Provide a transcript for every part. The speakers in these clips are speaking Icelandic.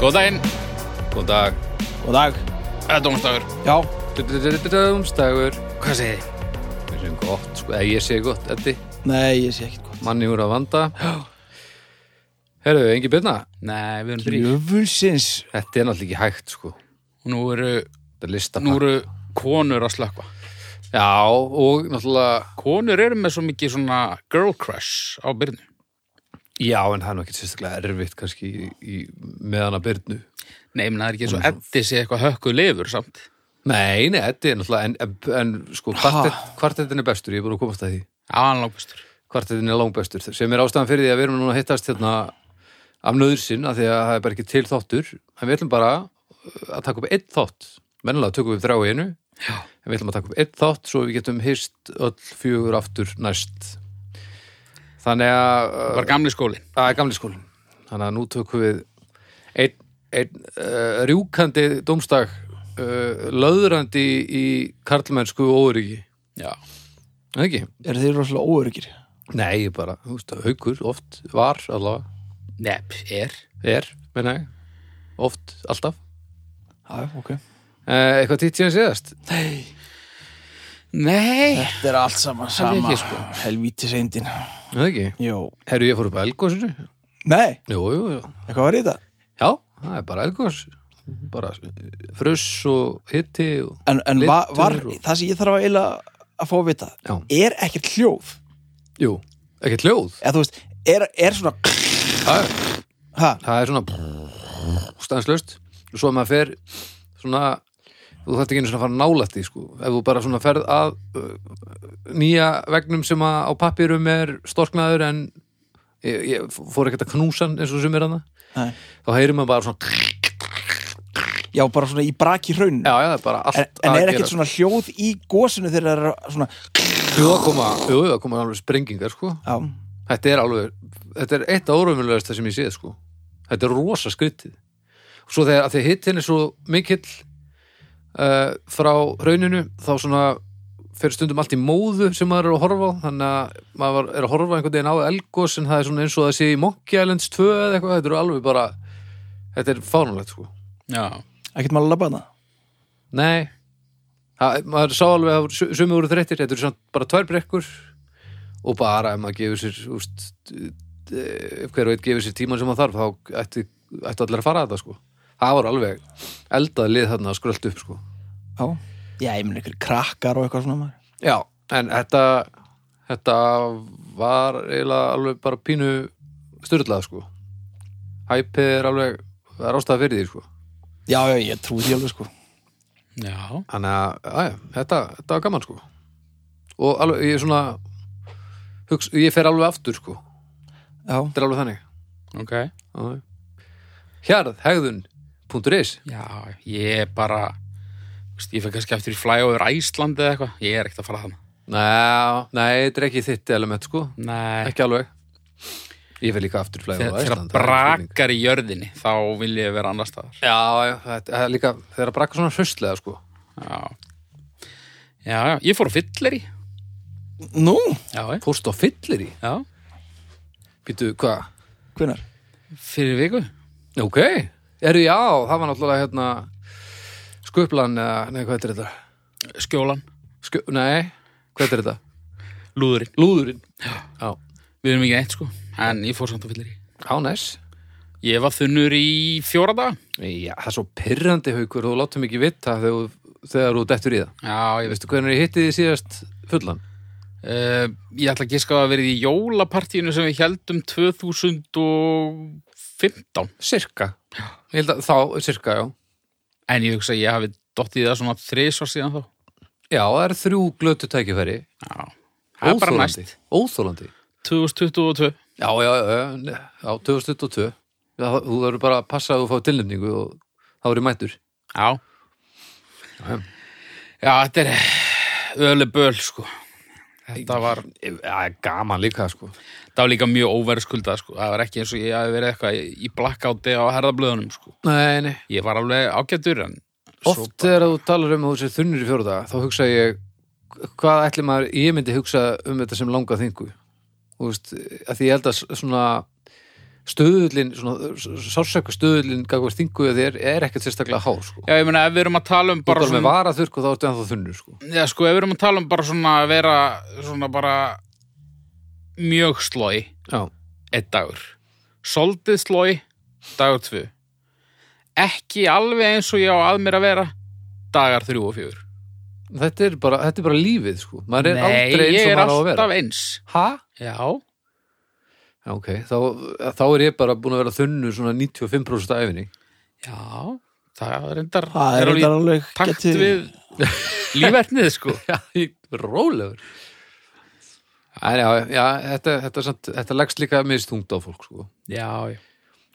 Góð daginn Góð dag Og dag Það er dómstagur Já, Dómstagur Hvað segir þið? Við segjum gott, sko, eða ég segi gott, Eddi nei, ég sé ekkert gott Manni úr að vanda Herðu, engi byrna? Nei, við erum Jöfulsins Þetta er náttúrulega ekki hægt, sko Nú eru, Þetta er listapakk nú eru konur að slökva. Já, og náttúrulega Konur eru með svo mikið svona girl crush á byrnu. Já, en það er nú ekkert sérstaklega erfitt kannski í, í, meðan að byrnu Nei, menn það er ekki eins og eddi sé eitthvað hökkuð lifur samt. Nei, nei, Eddi er náttúrulega En, en, en sko, kvartet- kvartettin er bestur Ég er búin að komast að því Já, hann langbæstur. kvartetinn er langbæstur sem er ástæðan fyrir því að við erum núna að hittast hérna af nöðursinn af því að það er bara ekki til þáttur en við ætlum bara uh, að taka upp einn þátt mennilega tökum við þrjá í einu Já. en við ætlum að taka upp einn þátt svo við getum hist öll fjögur aftur næst þannig að Það var gamli skólinn. það er gamli skólinn þannig að nú tökum við einn ein, uh, rjúkandi dómstag uh, löðrandi í karlmennsku og óryggi Já. Er það ekki? Er þeir rosalega óörgir? Nei, ég bara, þú veist, haukur oft, var allavega, Nepp, er. er, menna ég, oft, alltaf. Já, ok Eh, eitthvað títt síðan síðast? Nei Nei. Þetta er allt saman er sama ekki, sko. Helvíti seindin Nei, ekki. Jó Herru, ég fór upp að elgósinu. Nei, Jú, jú, jú. eitthvað var í þetta Já, það er bara elgós. Bara fruss og hitti og... En, en va, Litur var, og- það sem ég þarf að eila að fá að vita Já. Er ekkert hljóð? Jú, ekkert hljóð. Eða þú veist, er, er svona Það er, ha, það er svona stanslöst. Og svo að maður fer svona, þú þarft ekki einu svona að fara nálætt því, sko. Ef þú bara svona ferð að uh, nýja vegnum sem að á pappýrum er storknaður en ég, ég fór ekkert að knúsa hann eins og sem er hana. Nei. Þá heyrir maður bara svona... Já, bara svona í braki hraun Já, já, það er bara allt En, en að er gera. ekkert svona hljóð í gósinu þegar það er svona Jú, það koma, jú, það koma alveg sprengingar, sko Já, Þetta er alveg, þetta er eitt af óraumjulegast sem ég séð, sko Þetta er rosa skrítið Svo þegar að því hittin er svo mikill uh, frá rauninu þá svona fer stundum allt í móðu sem maður er að horfa á þannig að maður var- er að horfa einhvern veginn á Elgos en það er svona eins og það sé í Monkey Islands 2 eða eitthvað, þetta er alveg bara þetta er fánulegt, sko Já. ekkert maður að labba hana Nei það, maður sá alveg að su- sumir voru þreyttir þetta eru samt bara tvær brekkur og bara ef maður gefur sér úst, ef hver og einn gefur sér tíman sem maður þarf þá ætti, ætti allir að fara að þetta sko það var alveg eldað lið þarna að skrölt upp sko Já, já ég meni ykkur krakkar og eitthvað svona maður já, en þetta þetta var eiginlega alveg bara pínu styrlað sko hæpið er alveg það er ástæða fyrir því sko Já, já, ég trú því alveg sko Já. Þannig að, aðja, þetta, þetta var gaman sko og alveg, ég er svona hugsa, ég fer alveg aftur sko þetta Já, er alveg þannig Ok. Já, já. hjarðhegðun.is Já, ég er bara, veist, ég fyrir kannski eftir í fly over Æsland eða eitthvað. Ég er ekkert að fara þannig. Næ, nei, þetta er ekki þitt element sko Nei. ekki alveg ég fer líka aftur flæði Þegar þegar brakar í jörðinni, þá vil ég vera annar staðar. já, já, þetta það er líka þegar brakar svona hröstlega sko Já. Já, já, ég fór á fyllir í. nú, Já, ég. fórstu á fyllir í, Já. býtu, hvað hvenar? Fyrir viku. ok, eru já, það var náttúrulega hérna skuplan, eða- nei, hvað er þetta Skjólan. Skö, nei, hvað er þetta Lúðurinn. Lúðurinn Já, Við erum ekki neitt, sko. En ég fór samt á fyllir í. á næs Ég var þunnur í fjóra daga. Já, það er svo pyrrandi haukur Þú látum ekki vita þegar, þú- þegar þú dettur í það Já, ég veist. Veistu hvernig ég hitti því síðast fullan? Uh, ég ætla að giska á að verið í jólapartíinu sem við heldum 2015. Sirka Ég held að, Þá, sirka, já En ég hugsa að ég hafi dottið í það svona þrisvar síðan þá. Já, það er þrjú glötu tækifæri Já. Það er bara Óþolandi. næst. Óþolandi 2022. Já, já, já, já, já 2022 Já, Þú verður bara að passa að þú fá tilnefningu og þá verður mættur Já. Já. Já, þetta er ölu böl, sko. Þetta var, Já, gaman líka, sko þetta var líka mjög óverðskuldað, sko. Það var ekki eins og ég hafi verið eitthvað í- í blackouti á herðablöðunum, sko. Nei, nei Ég var alveg ágættur, en svo Oft þegar þú talar um að þú sér þunnur í fjóruða þá hugsa ég hvað ætli maður, ég myndi hugsa um þetta sem langa þingu Þú veist, að því ég held að s- svona stöðullin, svona sársöku stöðullin gagvart þingu að þér er ekkert sérstaklega hár sko. Já, ég meina, ef við erum að tala um Þú bara erum með svona, vara þurrk og þá ertu ennþá þunnur sko. já, sko, ef við erum að tala um bara svona að vera svona bara mjög slói, Já, einn dagur. Soldið slói, dagur tvö. Ekki alveg eins og ég á að mér að vera, dagar þrjú og fjögur. þetta er bara, þetta er bara lífið sko. maður er aldrei Nei, eins ég og er maður á að vera alltaf eins. Hæ? Já, Já, ok, þá, þá er ég bara búin að vera þunnur svona 95% af efinni já, það er endar, Það alveg er reyndar alveg takt getið- við lífvertnið, sko. Já, ég er rólegur En já, já, þetta, þetta, samt, þetta leggst líka mistungt á fólk sko. Já, já,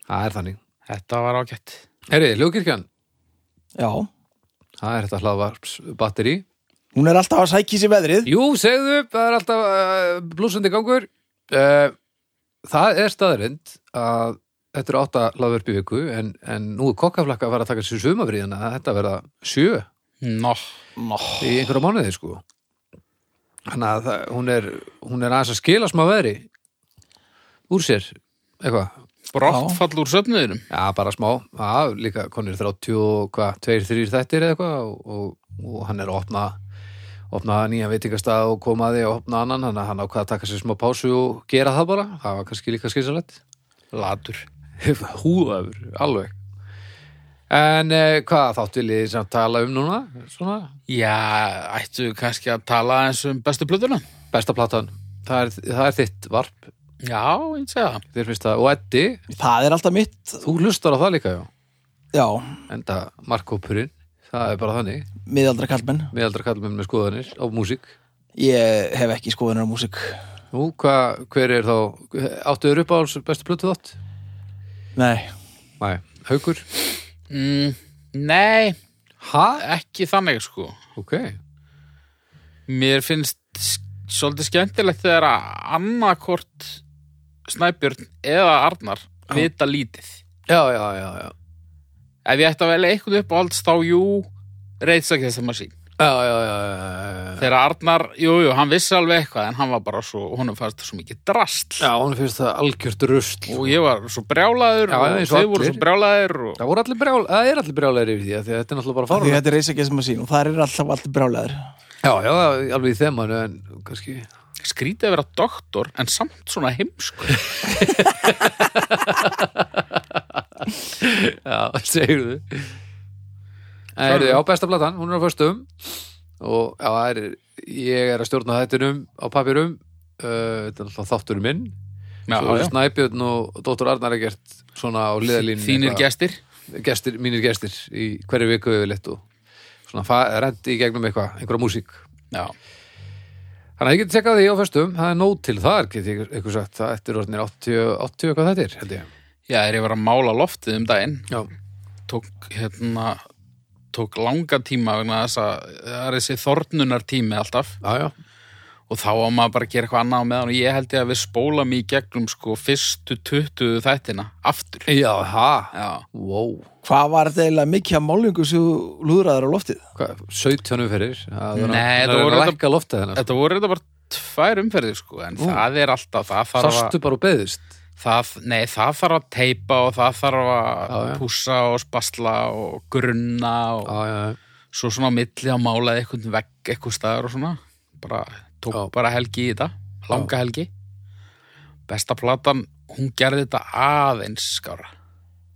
Það er þannig þetta var ágætt. Herri, hljókirkjan, Já, það er þetta hlaðvarps batteri hún er alltaf að sækja sér veðrið Jú, segðu, það er alltaf uh, blúsandi gangur uh, Það er staðrind að þetta eru átta laðverfi viku en, en nú er kokkaflakka að fara að taka sér sumafríðina að þetta verða sjö Nó, Nó, í einhverja mánuði sko Þannig að það, hún, er, hún er aðeins að skila smá veðri úr sér eitthvað, brottfall úr söfnuðinum. já bara smá já, líka konir 30 og hvað, 2-3 þættir eða eitthvað og, og, og hann er að opna opna nýja veitingastað og koma að því og opna annan, þannig að hann ákvað að taka sér smá pásu og gera það bara, það var kannski líka skilsalett Latur. húðafur, alveg en eh, hvað þátt vil ég sem tala um núna svona, Já, ættu kannski að tala eins um bestu plötuna? besta platan það er, það er þitt varp Já, ég segi það. þér finnst það, og Eddi, það er alltaf mitt þú hlustar á það líka já, Já, enda markkópurinn það er bara þannig, miðaldra kallmenn miðaldra kallmenn með skoðanir á músík, Ég hef ekki skoðunar á músík nú hvað hver er þá, áttuður upp á bestu plötu þátt? Nei, Nei, haukur Mm, nei, ha? ekki þannig sko. ok, Mér finnst s- svolítið skemmtilegt þegar að annarkort Snæbjörn eða Arnar vita lítið. já, já, já já, Ef ég ætti að velja eitthvað upp á alls þá, jú, reyðsak þess að maður sín. já, já, já, já, já. Þegar Arnar, jú, jú, hann vissi alveg eitthvað en hann var bara svo, honum fannst það svo mikið drast. já hún finnst það algjört rusl Og ég var svo brjálaður Já, og eins og þau voru allir. svo brjálaður og... það voru allir brjál, það er allir brjálæri yfir því af því að þetta er náttúrulega bara því fárlega þetta er reis ekki sem að sín og það er alltaf alltaf brjálæður já, já, alveg í þemannu en kannski, skrítið að vera doktor en samt svona heimskur já, segirðu en er á besta platan, hún er á föstum og já, það er ég er að stjórna þættinum á papirum uh, þetta er náttúrulega þátturinn minn já, svo er Snæbjörn og Dóttur Arnar er gert svona á liðalínu þínir gestir gestir, mínir gestir í hverju viku yfirleitt og svona rendi í gegnum eitthvað, einhverja músík já. Þannig að ég geti tekað því á föstum, það er nóg til þar get ég eitthvað sagt, það eftir orðinir 80, 80 eitthvað þetta er, held ég já, er ég var að mála loftið um daginn Já, tók hérna tók langa tíma vegna þess að það er þessi þornunar tími alltaf já, já, og þá á maður bara að gera eitthvað annað á meðan og ég held ég að við spóla mig í gegnum sko fyrstu 20 þættina aftur já, ha já, Wow, Hvað var þetta eiginlega mikið að málingu sem þú lúðraður á loftið? hvað, 17 umferðir Það er að- Nei, það það er voru að þetta- lækka loftið hennar þetta voru þetta bara tvær umferðir sko en það er alltaf, það þarf að Sástu bara og beðist það, nei, það þarf að teipa og það þarf að Já, já. pússa og spasla og grunna og Já, já, já. svo svona á milli að mála eitthvað vegg eitthvað staðar og svona bara, tók Já. bara helgi í þetta langa helgi besta platan, hún gerði þetta aðeins skára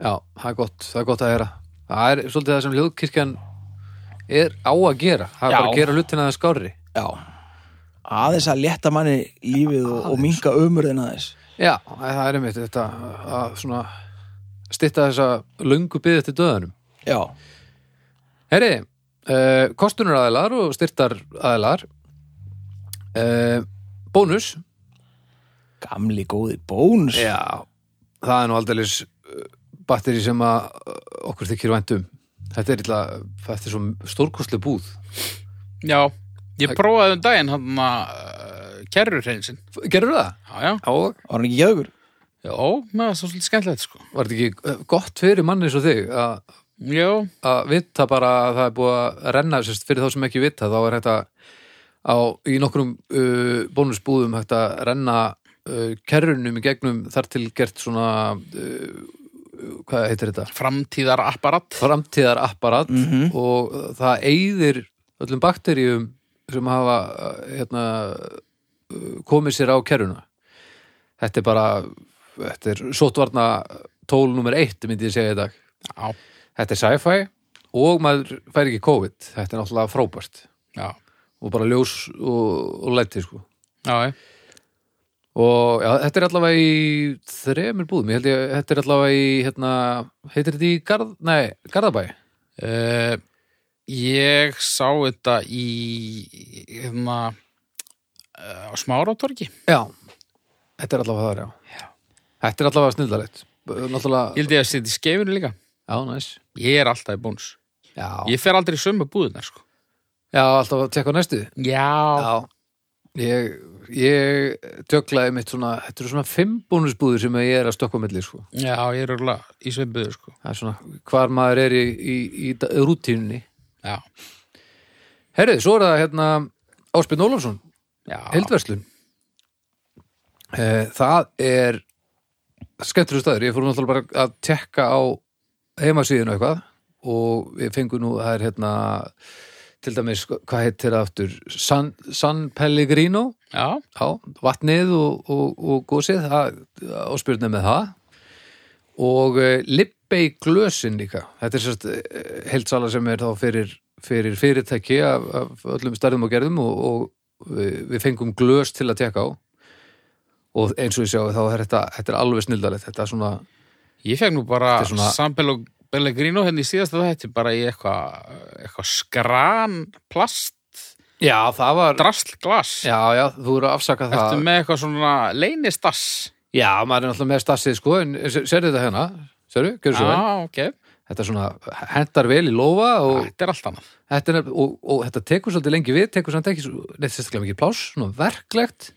já, það er gott, það er gott að heyra Það er svolítið það sem hljóðkirkjan er á að gera, það er Já. bara að gera hlutina það skárri Já Aðeins að létta manni lífið og, og minga ömurðin aðeins Já, það er einmitt þetta að svona stytta þessa löngu byggði til döðanum Já, Herri, uh, kostunur aðilar og styrtar aðilar uh, Bónus gamli góði bónus Já Það er nú aldeilis uh, batteri sem að uh, okkur þykir væntum Þetta er illa, þetta er svo stórkostli búð já, ég prófaði um daginn hann að uh, kerru reynsinn Gerðu það? já, já, Já, Var hann ekki geðugur? já, með það er svolítið skemmtilegt sko var þetta ekki uh, gott fyrir manni eins og þig að já, að vita bara að það er búið að renna sérst, fyrir þá sem ekki vita þá er þetta á, í nokkrum uh, bónusbúðum hægt að renna uh, kerrunum í gegnum þar til gert svona uh, hvað heitir þetta? framtíðar apparat framtíðar apparat Mhm. og uh, það eyðir öllum bakteríum sem hafa uh, hérna, uh, komið sér á kerruna þetta er bara þetta er sóttvarna tól nummer eitt myndi ég segja í dag Já, þetta er sci-fi og maður fær ekki COVID þetta er náttúrulega frábært já, og bara ljós og, og læti sko já, já. og já, þetta er allavega í þremur búðum, ég held ég þetta er allavega í, hérna, heitir þetta í Garð, nei, Garðabæ Uh, ég sá þetta í hérna eh, á smáratorki Já, þetta er allavega þar, já. Þetta er allavega snildarlegt. ég Náttúrulega, held ég að setja í skeifinu líka já, næs. ég er alltaf í bónus Já, ég fer aldrei í sömu búðunar sko já alltaf að tekka næstu. já, Já. Ég, ég tjöklaði mitt svona, þetta eru svona fimm bónusbúður sem ég er að stökkva á milli, sko. já ég er örgulega í sömu búður sko Það er svona, hvar maður er í, í, í, í rútínunni. já, Herrið, svo er það hérna Áspinn Ólafsson, já, heldverslun. Eh, Það er skemmtur staður, ég fór náttúrulega bara að tekka á heimasíðinu eitthvað og við fengum nú, það er hérna til dæmis, hvað heitir það aftur San, San Pellegrino já, já, vatnið og, og, og gósið áspyrna með það og uh, lippei glösin líka þetta er sérst eh, heildsala sem er þá fyrir, fyrir fyrirtæki af, af öllum stærðum og gerðum og, og við, við fengum glös til að tekka á og eins og ég sjá þá er þetta, þetta er alveg snildalegt þetta er svona, ég fekk nú bara Þetta er svona- San Pel- Pellegrino hérna í síðasta þetta bara í eitthvað eitthva skran plast já það var drastglas já já, þú eru að afsaka það Ertu með eitthvað svona leynistass? já, maður er náttúrulega með stassið sko en ser, serðu þetta hérna, serðu, gjörðu svo vel Já, ok. þetta er svona, hentar vel í lófa og Þetta er allt annað. þetta er, nefn- og, og þetta tekur svolítið lengi við tekur samt ekki, svo- neitt sérstaklega mikið pláss svona verklegt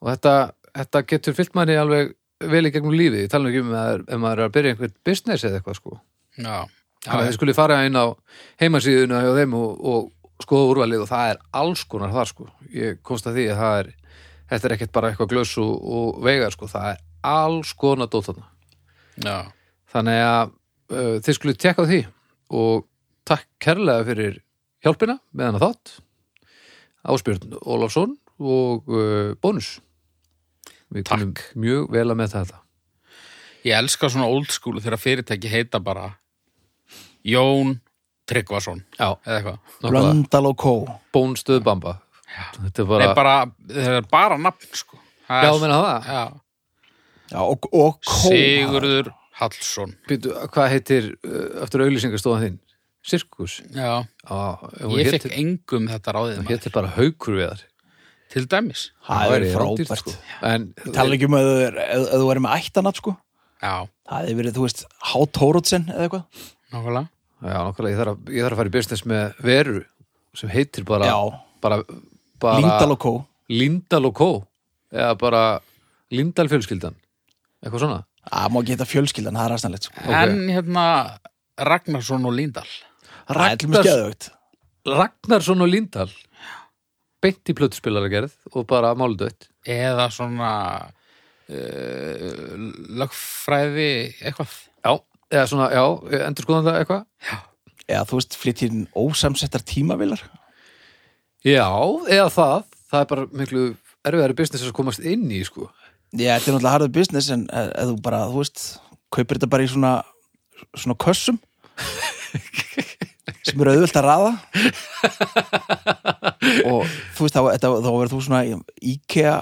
og þetta, þetta getur fyllt manni alveg vel í gegnum lífið, ég tala nú ekki um að, ef maður er að byrja einhvern business eða eitthvað sko Já. þannig að þið skulle fara inn á heimasíðuna hjá þeim og, og skoða úrvalið og það er alls konar þar sko ég komst að því að það er þetta er ekkert bara eitthvað glöss og, og veigar sko það er alls konar dótana Já. þannig að uh, þið skulle tekka á því og takk kærlega fyrir hjálpina með hana þátt Ásbjörn Ólafsson og uh, Bónus við Takk. kunum mjög vel að metta þetta Ég elska svona old school þegar fyrirtæki heita bara Jón Tryggvason Já. eða eitthvað. Nákvæmlega. Blöndal og kó Bónstöð Bamba þetta er bara, Nei, bara, þeir eru bara nafn, sko. Það já er- menna það Já. Já, og, og kó Sigurður Hallsson. Býtu, hvað heitir uh, eftir auglýsingastofan þinn? Sirkus? Já. Já, hún Ég fekk hétir, engum um þetta ráðið hún maður. hétir bara haukur við þar Til dæmis. Það er væri sko. rándýrt, frábært en, Ég tala ekki um að þú, er, að, að þú væri með ættanat sko Já. Það hefði verið, þú veist, Hátórótsen eða eitthvað Nákvæmlega. já, nákvæmlega, ég þarf, að, ég þarf að fara í business með veru sem heitir bara, Já, bara, bara Líndal og kó Lindal og Kó eða bara Lindal fjölskyldan eitthvað svona Það má geta fjölskyldan, það er aðstæðanlegt sko Ok. En hérna Ragnarsson og Líndal. Það er til mjög skeðugt Ragnarsson og Lindal beint í plötuspilara gerð og bara máldött Eða svona uh, lögfræði eitthvað. já, eða svona, já, endur skoðan það eitthvað Eða þú veist, flyttir ósamsettar tímavilar já, eða það það er bara miklu erfiðari business að komast inn í sko Já, þetta er náttúrulega harður business en eh, ef þú bara, þú veist, kaupir þetta bara í svona svona kössum sem eru auðvöld að raða og þú veist, þá, þá, þá verður þú svona IKEA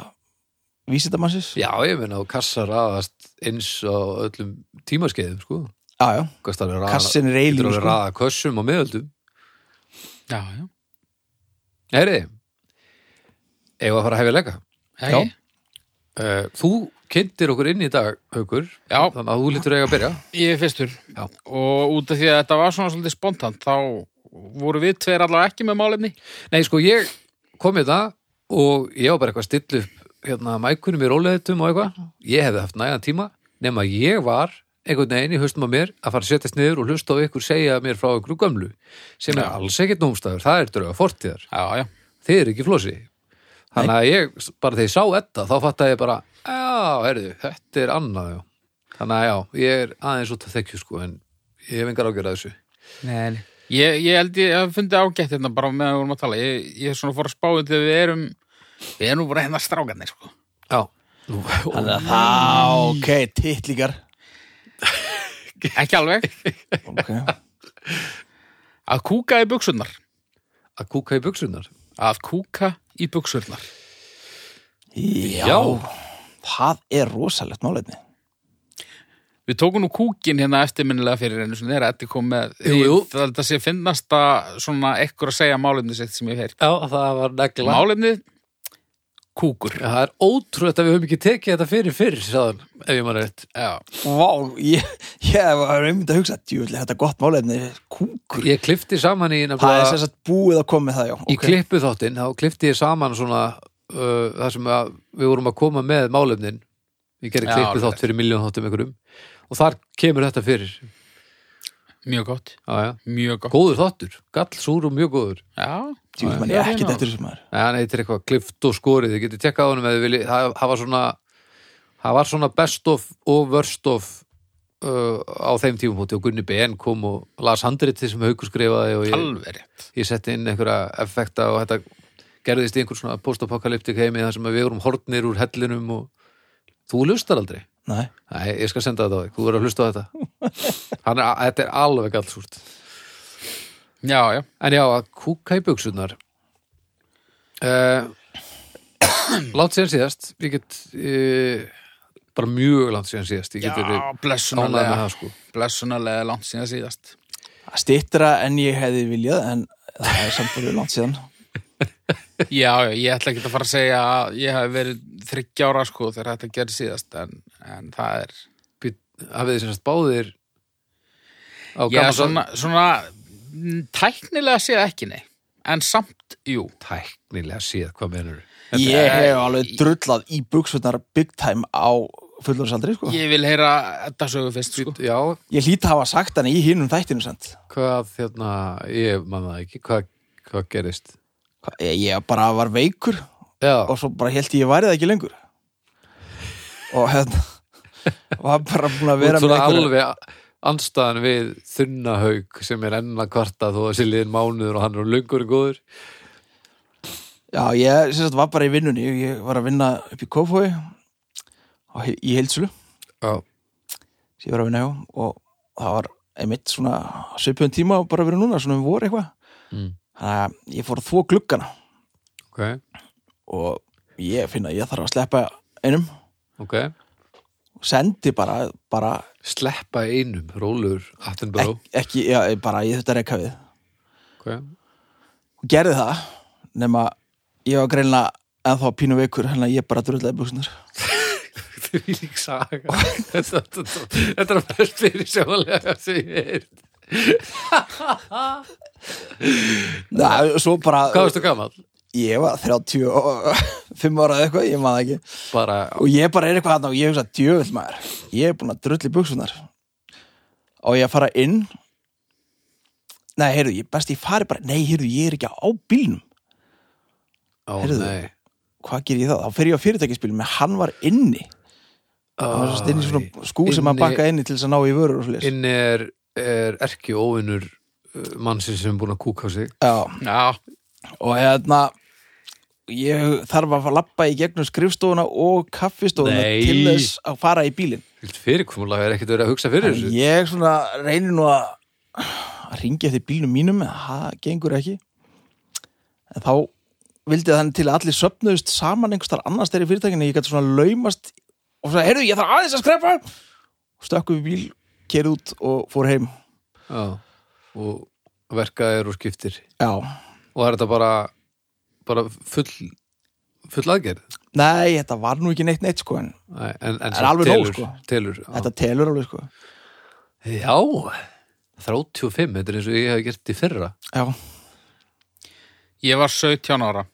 vísitamannsins Já, já, ég meina og kassar aðast eins á öllum tímaskeiðum sko já, Gast alveg raða- kassin er getur eilíf alveg sko. raða kössum og miðöldum Já, já. heyri, eigum við að fara að hefja leika Hei. Já. Eh, Þú kynntir okkur inn í dag, Haukur Já. Þannig að þú lítur eiga að byrja Ég er fyrstur Já. og út af því að þetta var svona svolítið spontant þá voru við tveir allavega ekki með málefni Nei, sko, ég kom í það og ég var bara eitthvað að stilla upp hérna mækunum í róleðitum og eitthvað Ég hefði haft nægan tíma nema ég var einhvern veginn í haustum á mér að fara að setjast niður og hlusta á ykkur segja mér frá ykkur gömlu sem er Já. alls ekkert nómstæður, það er drauga fortíðar Já, já, Þið eru ekki flósi þannig að ég, bara þegar ég sá þetta þá fattaði ég bara, já, herðu þetta er annað, já þannig að já, ég er aðeins út að þekju sko en ég hef engar ágjörð að þessu Nei, ég, ég held ég að fundi ágætt hérna bara meðan við vorum að tala ég, ég er svona fór að spáði þegar við erum við erum nú bara hérna strákanir sko. já, nú, ó, Þannig að það, ok, tittlíkar ekki alveg, Ok, að kúka í buksunar að kúka í buksunar að kúka í buksunar já, Það er rosalegt málefni Við tókum nú kúkin hérna eftirminnilega fyrir einu svona þeirra eftir kom með Jú, jú. Ég- það sé finnast að svona ekkur að segja málefni sitt sem ég hef heyrt já, það var negla Málefnið, kúkur það er ótrúlegt að við höfum ekki tekið þetta fyrir fyrir sáðan, ef ég maður rétt Já, Vá, ég, ég var einmitt að hugsa Djúvill, þetta er gott málefni Kúkur, ég klifti saman í það er nefnilega sem sagt búið að koma með það, já í klippu þáttinn, þá klifti ég saman svona uh, það sem að við vorum að koma með málefnin ég gerði Já, klippu alveg. þátt fyrir miljón þáttum einhverjum og þar kemur þetta fyrir mjög gott, já, já. mjög gott góður þáttur, gall, súr og mjög góður Já, Djúvill, mann Já, ég ekki já. þetta sem maður Nei, hann heitir eitthvað klift og skorið, þið getur tekkað á honum eða þið viljið, það, það var svona það var svona best of og worst of uh, á þeim tímupóti og Gunni BN kom og las handriti sem Haukur skrifaði og ég, alveg rétt ég setti inn einhverja effekta og þetta gerðist í einhver svona postapokalyptik heimi þar sem við vorum hornir úr hellinum og þú lustar aldrei Nei, Nei, ég skal senda þetta á þig, þú verður að hlusta á þetta Hann er, þetta er alveg gallsúrt Já, já, En já, að kúka í buksunar uh, Látt síðan síðast Ég get uh, bara mjög langt síðan síðast Ég get verið já, ánægð með blessunarlega það sko blessunarlega langt síðan síðast það stýttra en ég hefði viljað en það er samt fyrir langt síðan Já, já, ég ætla ekki að fara að segja að ég hef verið þryggja ára sko þegar þetta gerði síðast en, en það er Bý- Hafið þið semst báðir á Já, gamans svona, svona mm, tæknilega séð ekki nei en samt, jú Tæknilega síð, hvað menur ég er- hef alveg drullað í buksunar big time á fullorðsaldri sko. ég, Ég vil heyra þetta sögu fyrst sko Já, ég hlýt að hafa sagt hann í hinnum þættinu sent. hvað hérna Ég man það ekki, hvað, hvað gerist ég ég bara var veikur Já, og svo bara held ég væri það ekki lengur og hérna var bara þú búin að ert vera svona einhverja- alveg anstæðan við þunnahauk sem er enn að kvarta þó að sé liðin mánuður og hann er lungur en góður já, ég sem sagt var bara í vinnunni ég, ég var að vinna upp í Kofói og í heilsulu Já, sem ég var að vinna hjá og það var einmitt svona svipun tíma og bara verið núna, svona um vor eitthvað Mm. þannig að ég fór að þvó gluggana ok, og ég finn að ég þarf að sleppa einum ok og sendi bara, bara sleppa einum, rólur Attenborough, ek, ekki, já, bara ég þetta reyka við ok og gerði það nema ég var greinlega ennþá pínu veikur þannig að ég bara drullæði buksnar því lík saga þetta, þetta, þetta er að best fyrir sjálega sem ég er Nei, svo bara, hvað varstu gamall? ég var 35 ára eða eitthvað, ég maður ekki bara, og ég bara er eitthvað hann og ég hugsa djöfull maður, ég er búin að drulli buksunar og ég að fara inn nei, heyrðu, ég best ég fari bara nei, heyrðu, ég er ekki á bílnum ó heyrðu. nei hvað ger ég þá? Þá fer ég á fyrirtækisbílnum en hann var inni, hann var svo inn í Æ, svona skú sem hann Inni- bakkaði inni til þess að ná í vörur og slis inn er, er erki óvinnur mannsins sem er búin að kúka á sig Já, Já, og hérna ég þarf að fara að labba í gegnum skrifstofuna og kaffistofuna Nei. til þess að fara í bílinn fyrirkomulega er ekkert verið að hugsa fyrir En þessu ég svona reynir nú að að ringi eftir bílnum mínum en það gengur ekki en þá vildi þannig til að allir söpnuðust saman einhvers þar annars þeirri fyrirtækinu ég gæti svona laumast og svona, heyrðu, ég þarf aðeins að skrepa stökku við bíl, kerið út og fór heim já, og verkaðir og skiptir já, og það er þetta bara bara full full aðgerð nei, þetta var nú ekki neitt neitt sko en Nei, en, en er samt alveg nóg, telur, sko. telur já. þetta telur alveg sko Já, 35, þetta er eins og ég hef gert í fyrra já, ég var 17 ára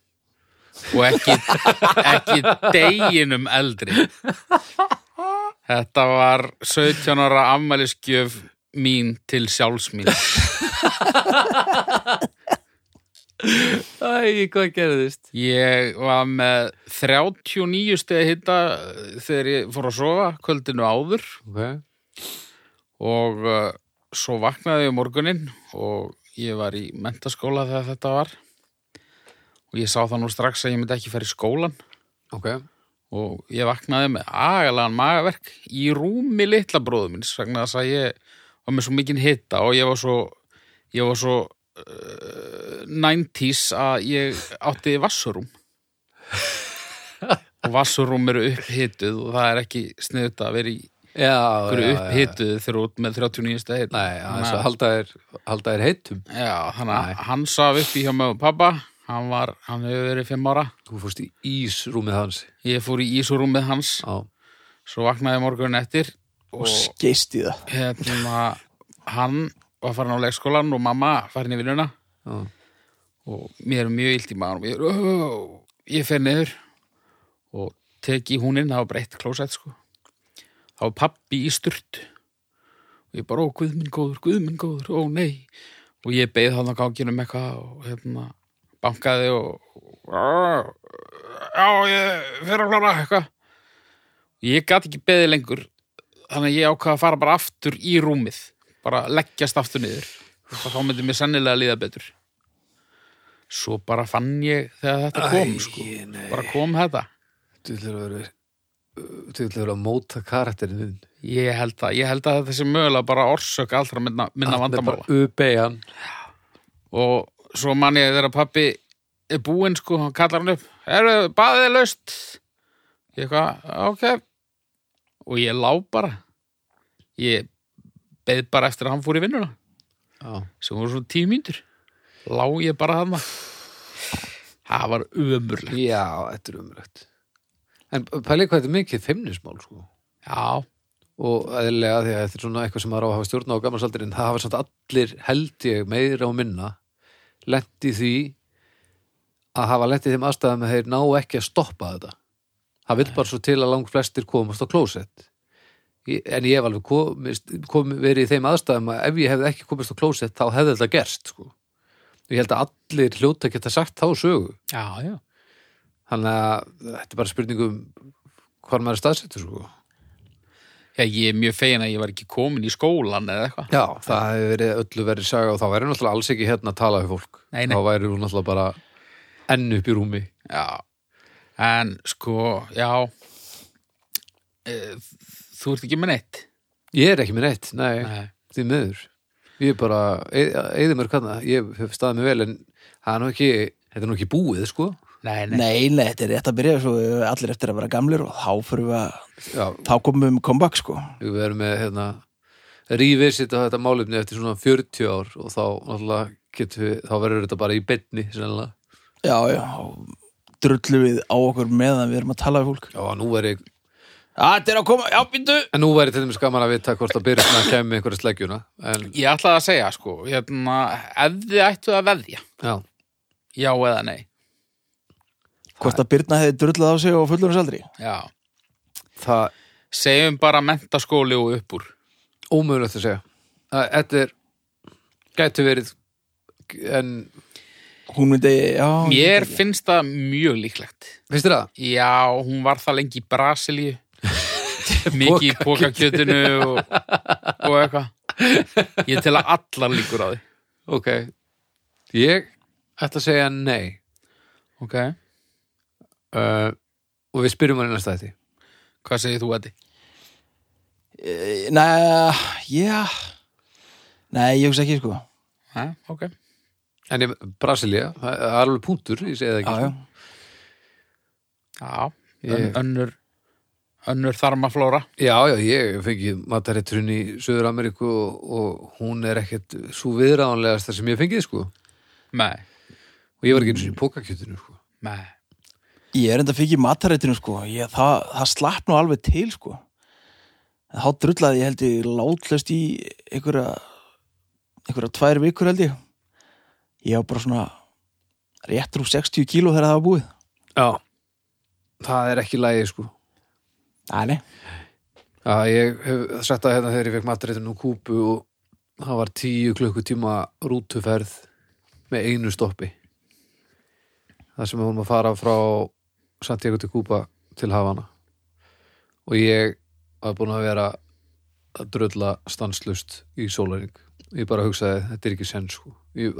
og ekki, ekki deginum eldri Þetta var 17 ára afmælisgjöf mín til sjálfs mín Æ, hvað gerðist? Ég var með 39 stegi hitta eh, þegar ég fór að sofa kvöldinu áður Ok, og uh, svo vaknaði ég um morguninn og ég var í mentaskóla þegar þetta var og ég sá það nú strax að ég myndi ekki fara í skólan ok, og ég vaknaði með agalegan magaverk í rúmi litla bróðu minns vegna þess að ég var með svo mikinn hitta og ég var svo ég var svo uh, 90s að ég átti vassurúm og vassurúm eru upphituð og það er ekki sniðut að vera í já, já, hverju já, já. upphituð þegar þú ert með 39. hitt Nei, aðeins að halda þér, halda þér heitum já, þannig Nei. að hann saf upp í hjá mig og pappa hann var, hann hefur verið fimm ára Þú fórst í ísrúmið hans ég fór í ísurúmið hans Já, svo vaknaði morgun eftir og skeist í það hérna, hann var farin á leikskólan og mamma farin í vinnuna já, og mér er mjög illt í maður ég, er, "Ó." ég fer niður og tek í húninn, það var breytt klósett sko þá var pappi í sturt og ég bara, ó, guð minn góður, guð minn góður, ó, nei og ég beið hann á ganginum eitthvað og hérna, bankaði og "Á, já, ég fer að klára eitthvað ég gat ekki beðið lengur þannig að ég ákvað að fara bara aftur í rúmið bara leggjast aftur niður og þá myndi mér sennilega líða betur svo bara fann ég þegar þetta kom sko. nei. bara kom þetta Þú ætlar að vera Þú ætlar að vera að móta karakterinn þinn ég held að, ég held að þetta sé mögulega bara orsök allra minna, minna Allt með vandamála bara ubeigjan og svo man ég þegar pappi er búinn sko, hann kallar hann upp Herru, baðið er laust ég eitthvað, ok og ég lá bara ég beð bara eftir að hann fór í vinnuna Já, sem voru svona tíu mínútur lá ég bara þarna það var umurlegt já þetta er umrætt En pæli hvað þetta er mikið feimnismál sko já, og eðlilega því að þetta er svona eitthvað sem maður á að hafa stjórna á gammalsaldir en það hafa samt allir held ég meira og minna lent í því að hafa lent í þeim aðstæðum að þeir ná ekki að stoppa þetta það vil bara svo til að langt flestir komast á klósett Ég- en ég hef alveg komist, kom, verið í þeim aðstæðum að ef ég hefði ekki komist á klósett þá hefði þetta gerst sko. ég held að allir hljóta geta sagt þá sögu já, já þannig að þetta er bara spurningum hvar maður er staðsettur sko. Já, ég er mjög fegin að ég var ekki komin í skólan eða eitthvað. Já, það hefur verið öllu verið saga og þá væri náttúrulega alls ekki hérna að tala við fólk. Nei, nei. Þá væri hún náttúrulega bara enn upp í rúmi. Já, en sko, já, e, þú ert ekki með neitt. Ég er ekki með neitt, nei, Nei. því miður. Ég er bara, eða mér kannar, ég hef staðið mig vel en það er nú ekki, þetta er nú ekki búið, sko. Nei, nei. Nei, nei, þetta er rétt að byrja svo eru allir eftir að vera gamlir og þá fyrir við að Já, þá komum við um comeback sko við verum með, hérna, rífið sitt á þetta málefni eftir svona 40 ár og þá náttúrulega getum við, þá verður þetta bara í betni, sennilega. Já, já, þá drullum við á okkur meðan við erum að tala við fólk Já, nú væri, Þetta er að koma, já, býttu en nú væri til dæmis gaman að vita hvort að Birna kemur einhverja sleggjuna, en, Ég ætlaði að segja, sko, hérna, ef þið ættu að veðja, já. já eða nei, Hvort að Birna hefði drullað á sig á fullurins aldri já. Það Segjum bara mentaskóli og uppur. ómögulegt að segja Það- þetta er gæti verið en Hún myndi, já hún Mér myndi- finnst það mjög líklegt. finnst þér það? Já, hún var það lengi í Brasilíu, mikið í pokakjötinu og, og eitthvað. Ég tel að allar líkur á því. Ok, ég ætla að segja nei Ok, uh, og við spyrjum hann í næsta þetta hvað segir þú, Eddi? Eh, Nei, já Nei, ég hugsa ekki sko Já, Hæ, ok. en ég, Brasilia, það það er alveg punktur ég segi það ekki já, sko. Já, Ég- ön, önnur, önnur þarmaflóra. já, já, ég fengi mataritturinn í Söður Ameríku og, og hún er ekkert svo viðráðanlegast það sem ég fengið sko og Nei, ég var ekki eins og í pokakjötinu sko nei. Ég er enda fyrir matarættinu sko ég, það, það slapp nú alveg til sko En Þá drullaði ég held ég látlöst í einhverja einhverja tvær vikur held ég Ég var bara svona rétt rúf 60 kíló þegar það var búið já, það er ekki lægi sko Nei, nei Já, ég hef sett það hérna þegar ég fekk mataréttin úr kúpu og það var tíu klukkutíma rútuferð með einu stoppi. þar sem við vorum að fara frá Santiago til Cuba til Havana og ég var búin að vera að drulla stanslust í sólæring ég bara hugsaði, þetta er ekki senn sko ég,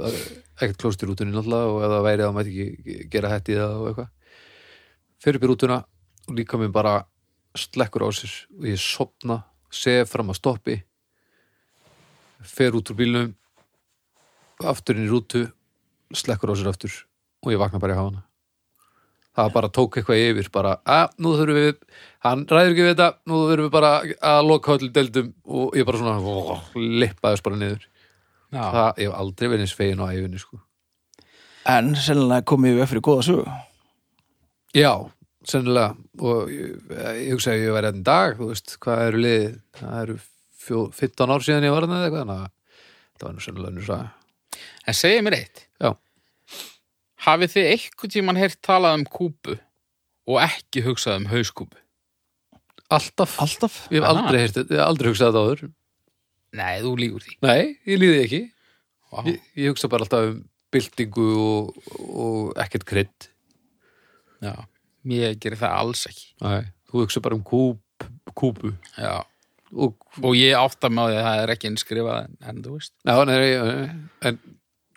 ekkert klóst í rútunni náttúrulega og ef það væri þá mætti ekki gera hætt í það og eitthvað fyrir upp í rútuna og líka minn bara slekkur á sér og ég sopna, sef fram að stoppi fer út úr bílnum aftur inn í rútu slekkur á sér aftur og ég vakna bara í hafana það bara tók eitthvað yfir bara að nú þurfum við hann ræður ekki við þetta, nú þurfum við bara að loka öllu deildum og ég bara svona ó, lippaðist bara niður Já, það, ég hef aldrei verið eins fegin á æfinni sko. En sennilega komið við fyrir góða sögu já, sennilega og ég, ég hugsa að ég væri enn dag þú veist, hvað eru liðið það eru fjó, 15 ár síðan ég var þarna eða eitthvað þannig að það var nú sennilega nú sæða en segið mér eitt Já. Hafið þið eitthvað tíman heyrt talað um kúpu og ekki hugsað um hauskúpu? alltaf, Alltaf ég hef Aha. aldrei, heyrt þetta, ég hef aldrei hugsað þetta áður Nei, þú lígur því nei, ég líði ekki Vá. ég, ég hugsa bara alltaf um byltingu og, og ekkert krydd Já, mér gerir það alls ekki Nei, þú hugsa bara um kúp, kúpu Já, og og ég átta mig á því að það er ekki innskrifað en, en þú veist Já, nei, nei, nei, en,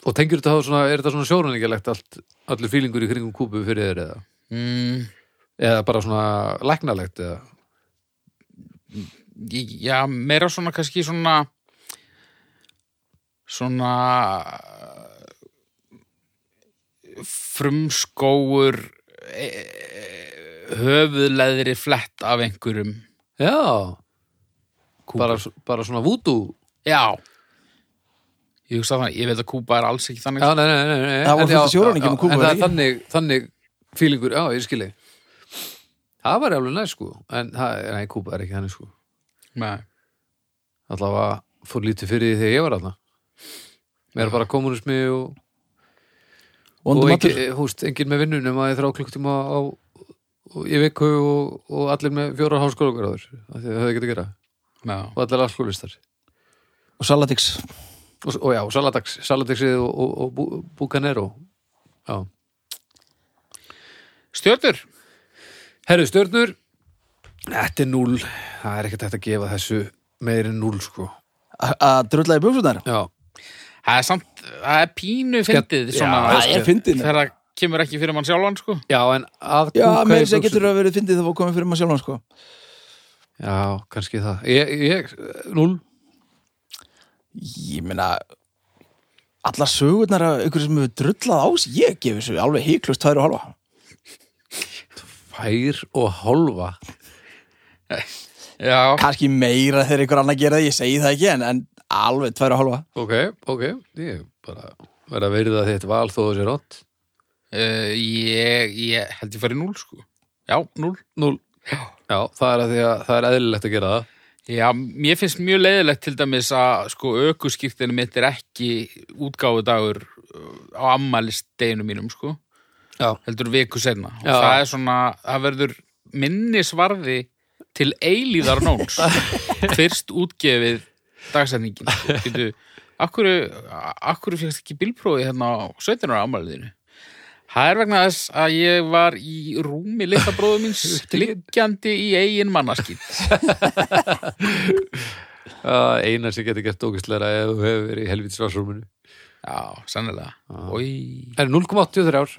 og tengjur þetta þá svona, er þetta svona sjóræningalegt allt, allur fílingur í kringum kúpu fyrir þér eða, mm, eða bara svona læknalegt eða, í- Já, meira svona kannski svona svona eh, frumskógur e, höfuðleðri flett af einhverjum já, kúpu. bara, s- bara svona vúdú, Já Ég hugsa það, ég veit að Kúba er alls ekki þannig já, nei, nei, nei, nei Það en var fullt já, af sjóræningjum já, í Kúbu, En það ekki? er þannig, þannig fílingur, já, ég skili Það var alveg næ, sko, en það, nei, kúpa er ekki þannig, sko Nei. allavega fór lítið fyrir því þegar ég var alltaf Mér er bara komunismi og og Vondum engin, allir húst, engin með vinnu nema ég þrá klukktíma á, á í viku og, og allir með fjóra háskóla okkur áður af því að það hefði ekki að gera Já. og allir alkoholistar Og salatix og, s- og já, og Saladax, Saladaxið og, og, og bú, Bucanero já. Stjörnur Herru, stjörnur Þetta er núl, það er ekkert hægt að gefa þessu meir en núl sko Að- Að drulla í bjóksunar Já, Það er samt, það er pínu fyndið svona, Já, Það er fyndin þegar það kemur ekki fyrir mann sjálfan sko já en að Já, kúka í með þess að buxur- getur að verið fyndið það var komið fyrir maður sjálfan sko Já, kannski það Ég, ég núl Ég meina Allar sögurnar af ykkur sem hefur drullað ás Ég gefi þessu alveg híklust tvær og halva fær og hálfa Já, Kanski meira þegar ykkur annar gera það Ég segi það ekki en, en alveg tvær og halva Ok, ok, ég bara verða að verða þitt val þó þessi rátt uh, ég, ég held ég fari núl sko Já, núl Núl Já, það er að því að það er eðlilegt að gera það Já, mér finnst mjög leiðilegt til dæmis að sko aukuskýrtinu mitt er ekki útgáfudagur uh, á ammælisteinum mínum sko Já. heldur viku senna og Já. það er svona, það verður minnisvarði til eilíðar nóns fyrst útgefið dagsetningin sko. Getu, akkur, akkur fyrst ekki bílprófi hérna á 17. ára ammæliðinu Það er vegna þess að ég var í rúmi litla bróðu míns liggjandi í eigin mannaskýt uh, Einar sem getur gert ógæstlega ef þú hefur verið í helvítis rásrúminu Já, sannilega. Í... En 0,83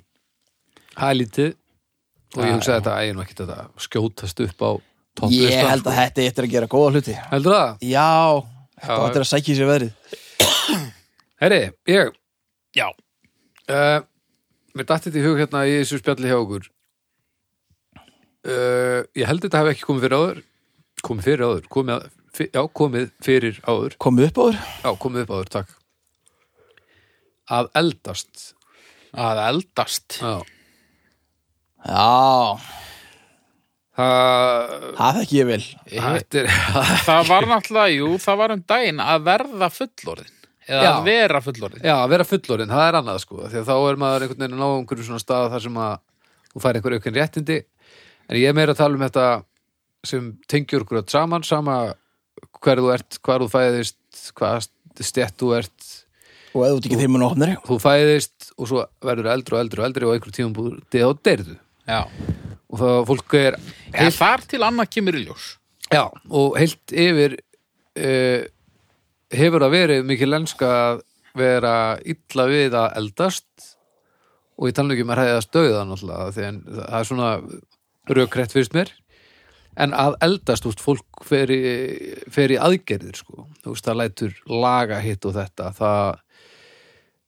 Það er lítið og Já, ég hugsaði þetta, æ, nú ekki þetta skjótast upp á Ég topplistan held að þetta eftir að gera góða hluti Heldur það? Já, þetta Já. var eftir að sækja í sér veðrið Herri, ég Já. uh, Mér datti þetta í hug hérna í þessu spjalli hjá okkur uh, Ég held þetta hafi ekki komið fyrir áður komið fyrir áður komið, að- fi- Já, komið fyrir áður Komið upp á þér Já, komið upp áður, takk Að eldast Að eldast. Já Já, Það það þekki ég vel Þetta er Það var náttúrulega, jú, það var um daginn að verða fullorðin. Eða Já. að vera fullorðin. Já, að vera fullorinn, það er annað sko því að þá er maður einhvern veginn að ná einhverju svona stað þar sem að þú fær einhverju aukinn réttindi en ég er meira að tala um þetta sem tengjur okkur öll saman sama hver þú ert, hvar þú fæðist hvað stett þú ert og eða út ekki þeim mun ofnari þú fæðist og svo verður eldri og eldri og eldri og einhver tíum búður deð og deyrðu já. og það fólk er Eða þar til annað kemur í ljós já, og heilt yfir uh, hefur það verið mikil lenska að vera illa við að eldast og ég tala nú ekki um að hræðast döða náttúrulega því en það er svona rökrætt fyrst mér en að eldast, þú veist, fólk fer í, fer í aðgerðir, sko þú veist, það lætur laga hitt og þetta það,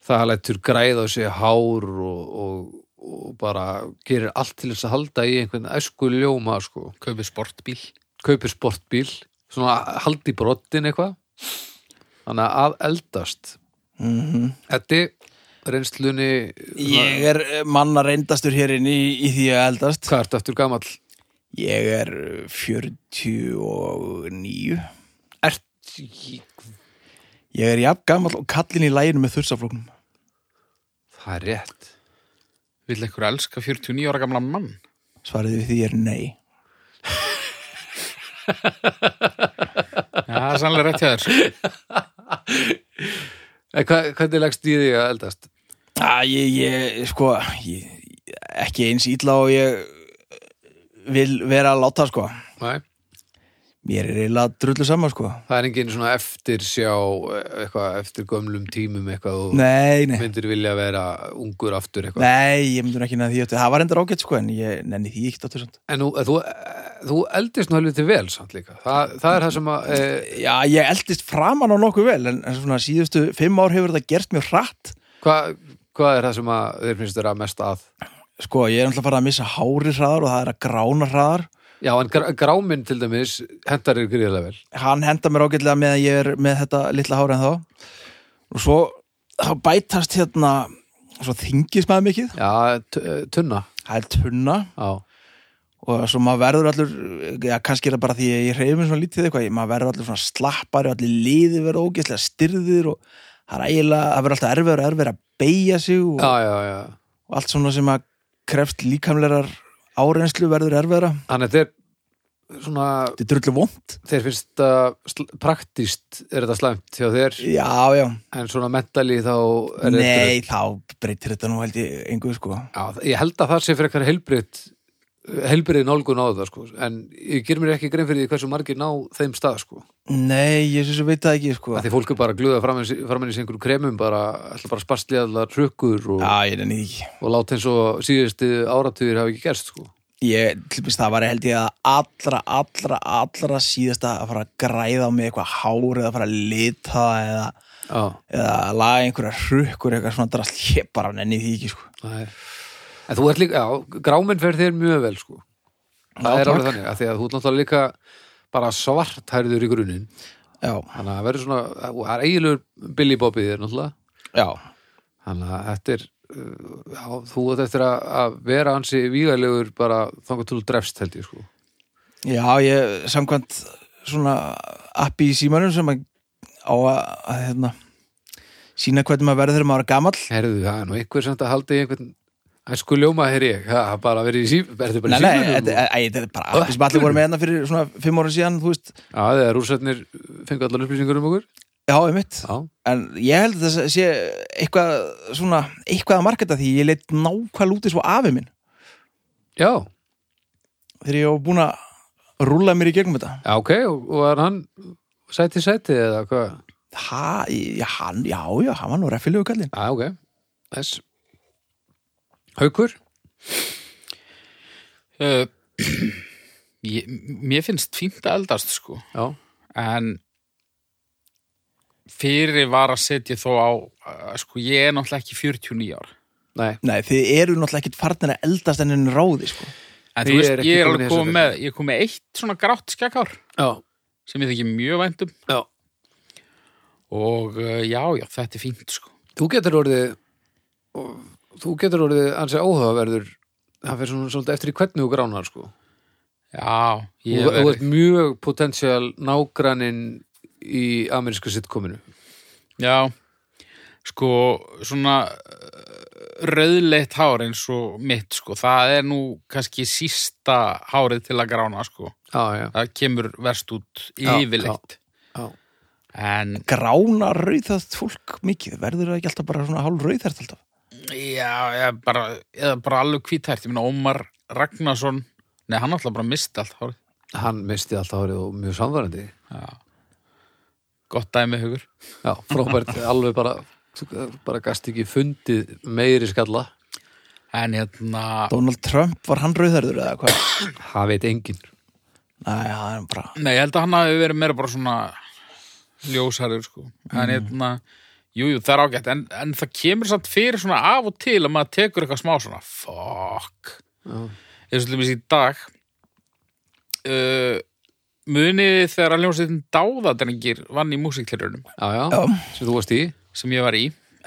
það lætur græða á sig hár og, og, og bara gerir allt til þess að halda í einhvern æsku ljóma, sko kaupið sportbíl kaupir sportbíl svona haldi brottin eitthvað þannig að eldast Mhm. Eddi, reynslunni ég er eh, manna reyndastur hér inn í, í því að eldast hvað ertu eftir gamall ég er eh, 49 ert, ég er jafn gamall og kallinn í læginu með þursaflóknum það er rétt vill einhver elska 49 ára gamlan mann svarið við því er nei já, það er sannlega rétt hjá þér sko. en Eh, hva, hvernig leggst í því að eldast Æ, ég, ég, sko ég, ekki eins ítla og ég vil vera að láta sko Nei, mér er eiginlega drullu sama sko það er engin svona eftir sjá eitthvað, eftir gömlum tímum eitthvað og nei, nei, myndir vilja vera ungur aftur eitthvað nei, ég myndur ekki nefn því aftur. það var endur ágætt sko en ég nenni því ekki aftur samt. en þú, þú, eh, þú eldist nú helviti vel samt líka, það, það er það sem að e, já, ég eldist framan á nokkuð vel en, en svona síðustu fimm ár hefur þetta gerst mjög hratt hvað hva er það sem að þeir finnst þeirra mest að sko, ég er náttúrulega farið að missa hári hraðar og það er að grána hraðar Já, en grá- gráminn til dæmis hentar er gríðlega vel. hann henda mér ágætlega með að ég er með þetta litla hári en þá og svo þá bætast hérna svo þingist maður mikið Já, t- eh, tunna. það er tunna Já, og svo maður verður allur já, kannski er það bara því að ég reyfum svona lítið eitthvað ég- maður verður allur svona slappari og allir liði verður ógeðslega styrðir og það er ægilega, það verður alltaf erfiður og erfiður að beigja sig og, já, já. já. og allt svona sem að kreft líkamlegar árenslu verður erfiðara Þannig að þeir, svona, þetta er drullu vond þeir finnst þetta praktíst er þetta slæmt hjá þér, já, já, en svona mentali þá er nei, þá breytir þetta nú held ég engu sko Já, ég held að það sé fyrir eitthvað helbriðt helbriði nálgun á það sko en ég ger mér ekki grein fyrir því hversu margir ná þeim stað sko, nei, ég syns að veit það ekki sko að því fólk er bara að gluða framann í sig einhverju kremum bara, ætla bara að spastli allar hrukkur og, já, ég nenni því ekki og láta eins og síðustu áratugir hafa ekki gerst sko ég, til dæmis, það var held ég að allra, allra, allra síðasta að fara að græða á mig eitthvað hár eða fara að lita það eða, Já. eða laga einhverja hrukkur eitthvað svona drast, ég bara nenni því ekki sko. Nei. En þú ert líka, já, gráminn fer þér mjög vel sko. Það er Já, alveg takk. þannig, að því að þú ert náttúrulega líka bara svarthærður í grunin já, þannig að það verður svona, og það er eiginlegur Billy Bobby þér náttúrulega já, þannig að þetta er, uh, já, þú ert eftir að, að vera hansi vígælegur bara þangar til þú drefst held ég sko. já, ég samkvæmt svona appi í símanum sem að, á að, að hérna, sína hvernig maður verður þegar maður er gamall Herðu, það er nú einhver sem þetta haldi í einhvern Æsku ljóma, heyr ég, það er bara verið í síf Ertu bara Nei, í nei, sífunum? þetta æ, þetta er bara appi sem allir voru með hérna fyrir svona fimm ára síðan, þú veist Já, þegar rússarnir fengu allar upplýsingur um okkur Já, einmitt Já, en ég held að það sé eitthvað svona, eitthvað að marketa því ég leitt nákvæl út í svo afi minn já, þegar ég var búin að rúla mér í gegnum þetta já ok, og, og er hann sæti sæti eða hvað? ha, já, hann, já, já, hann var nú refilegu kallinn Já, ok. Þess. Haukur? uh, ég, mér finnst fínt að eldast sko Já. en fyrir var að setja þó á uh, sko ég er náttúrulega ekki 49 ár Nei. Nei, þið eru náttúrulega ekkit farnir að eldast en enn ráði, sko en Ég þú veist er ekki ég er komin í alveg þessa komið með ég er komið með eitt svona grátt skakár Já. sem ég þekki mjög væntum Já. og uh, já já þetta er fínt sko Þú getur orðið, þú getur orðið ansið áhugaverður, það fyrir svona svolítið eftir í hvernig þú gránar, sko. já Þú ég þú verð- ert mjög potensial nágrannin í ameríska sitcominu. Já, sko, svona eh, rauðleitt hár eins og mitt, sko, það er nú kannski sísta hárið til að grána, sko. Já, já. Það kemur verst út Já, já, yfirleitt. já. en grána rauðað fólk mikið verður það ekki alltaf bara svona hálf rauðhært alltaf Já, eða bara, eða bara alveg hvíthært, ég meina Ómar Ragnarsson, nei hann alltaf bara misti allt hárið. Hann misti alltaf árið og mjög samvarandi Gott dæmi hugur. Já, frábært, alveg bara bara gast ekki fundið meiri skalla En hérna, Donald Trump, var hann rauðhærður eða hvað? það veit enginn Nei, það er bara nei, ég held að hann hafi verið meira bara svona ljósarður, sko. En hérna, jú, jú, það er ágætt, en, en það kemur samt fyrir svona af og til að maður tekur eitthvað smá svona, fuck. Eins og lífis í dag, uh, munið þið þegar að ljósið dáðadrengir vann í músiklirunum Já, já, Já. sem þú varst í sem ég var í,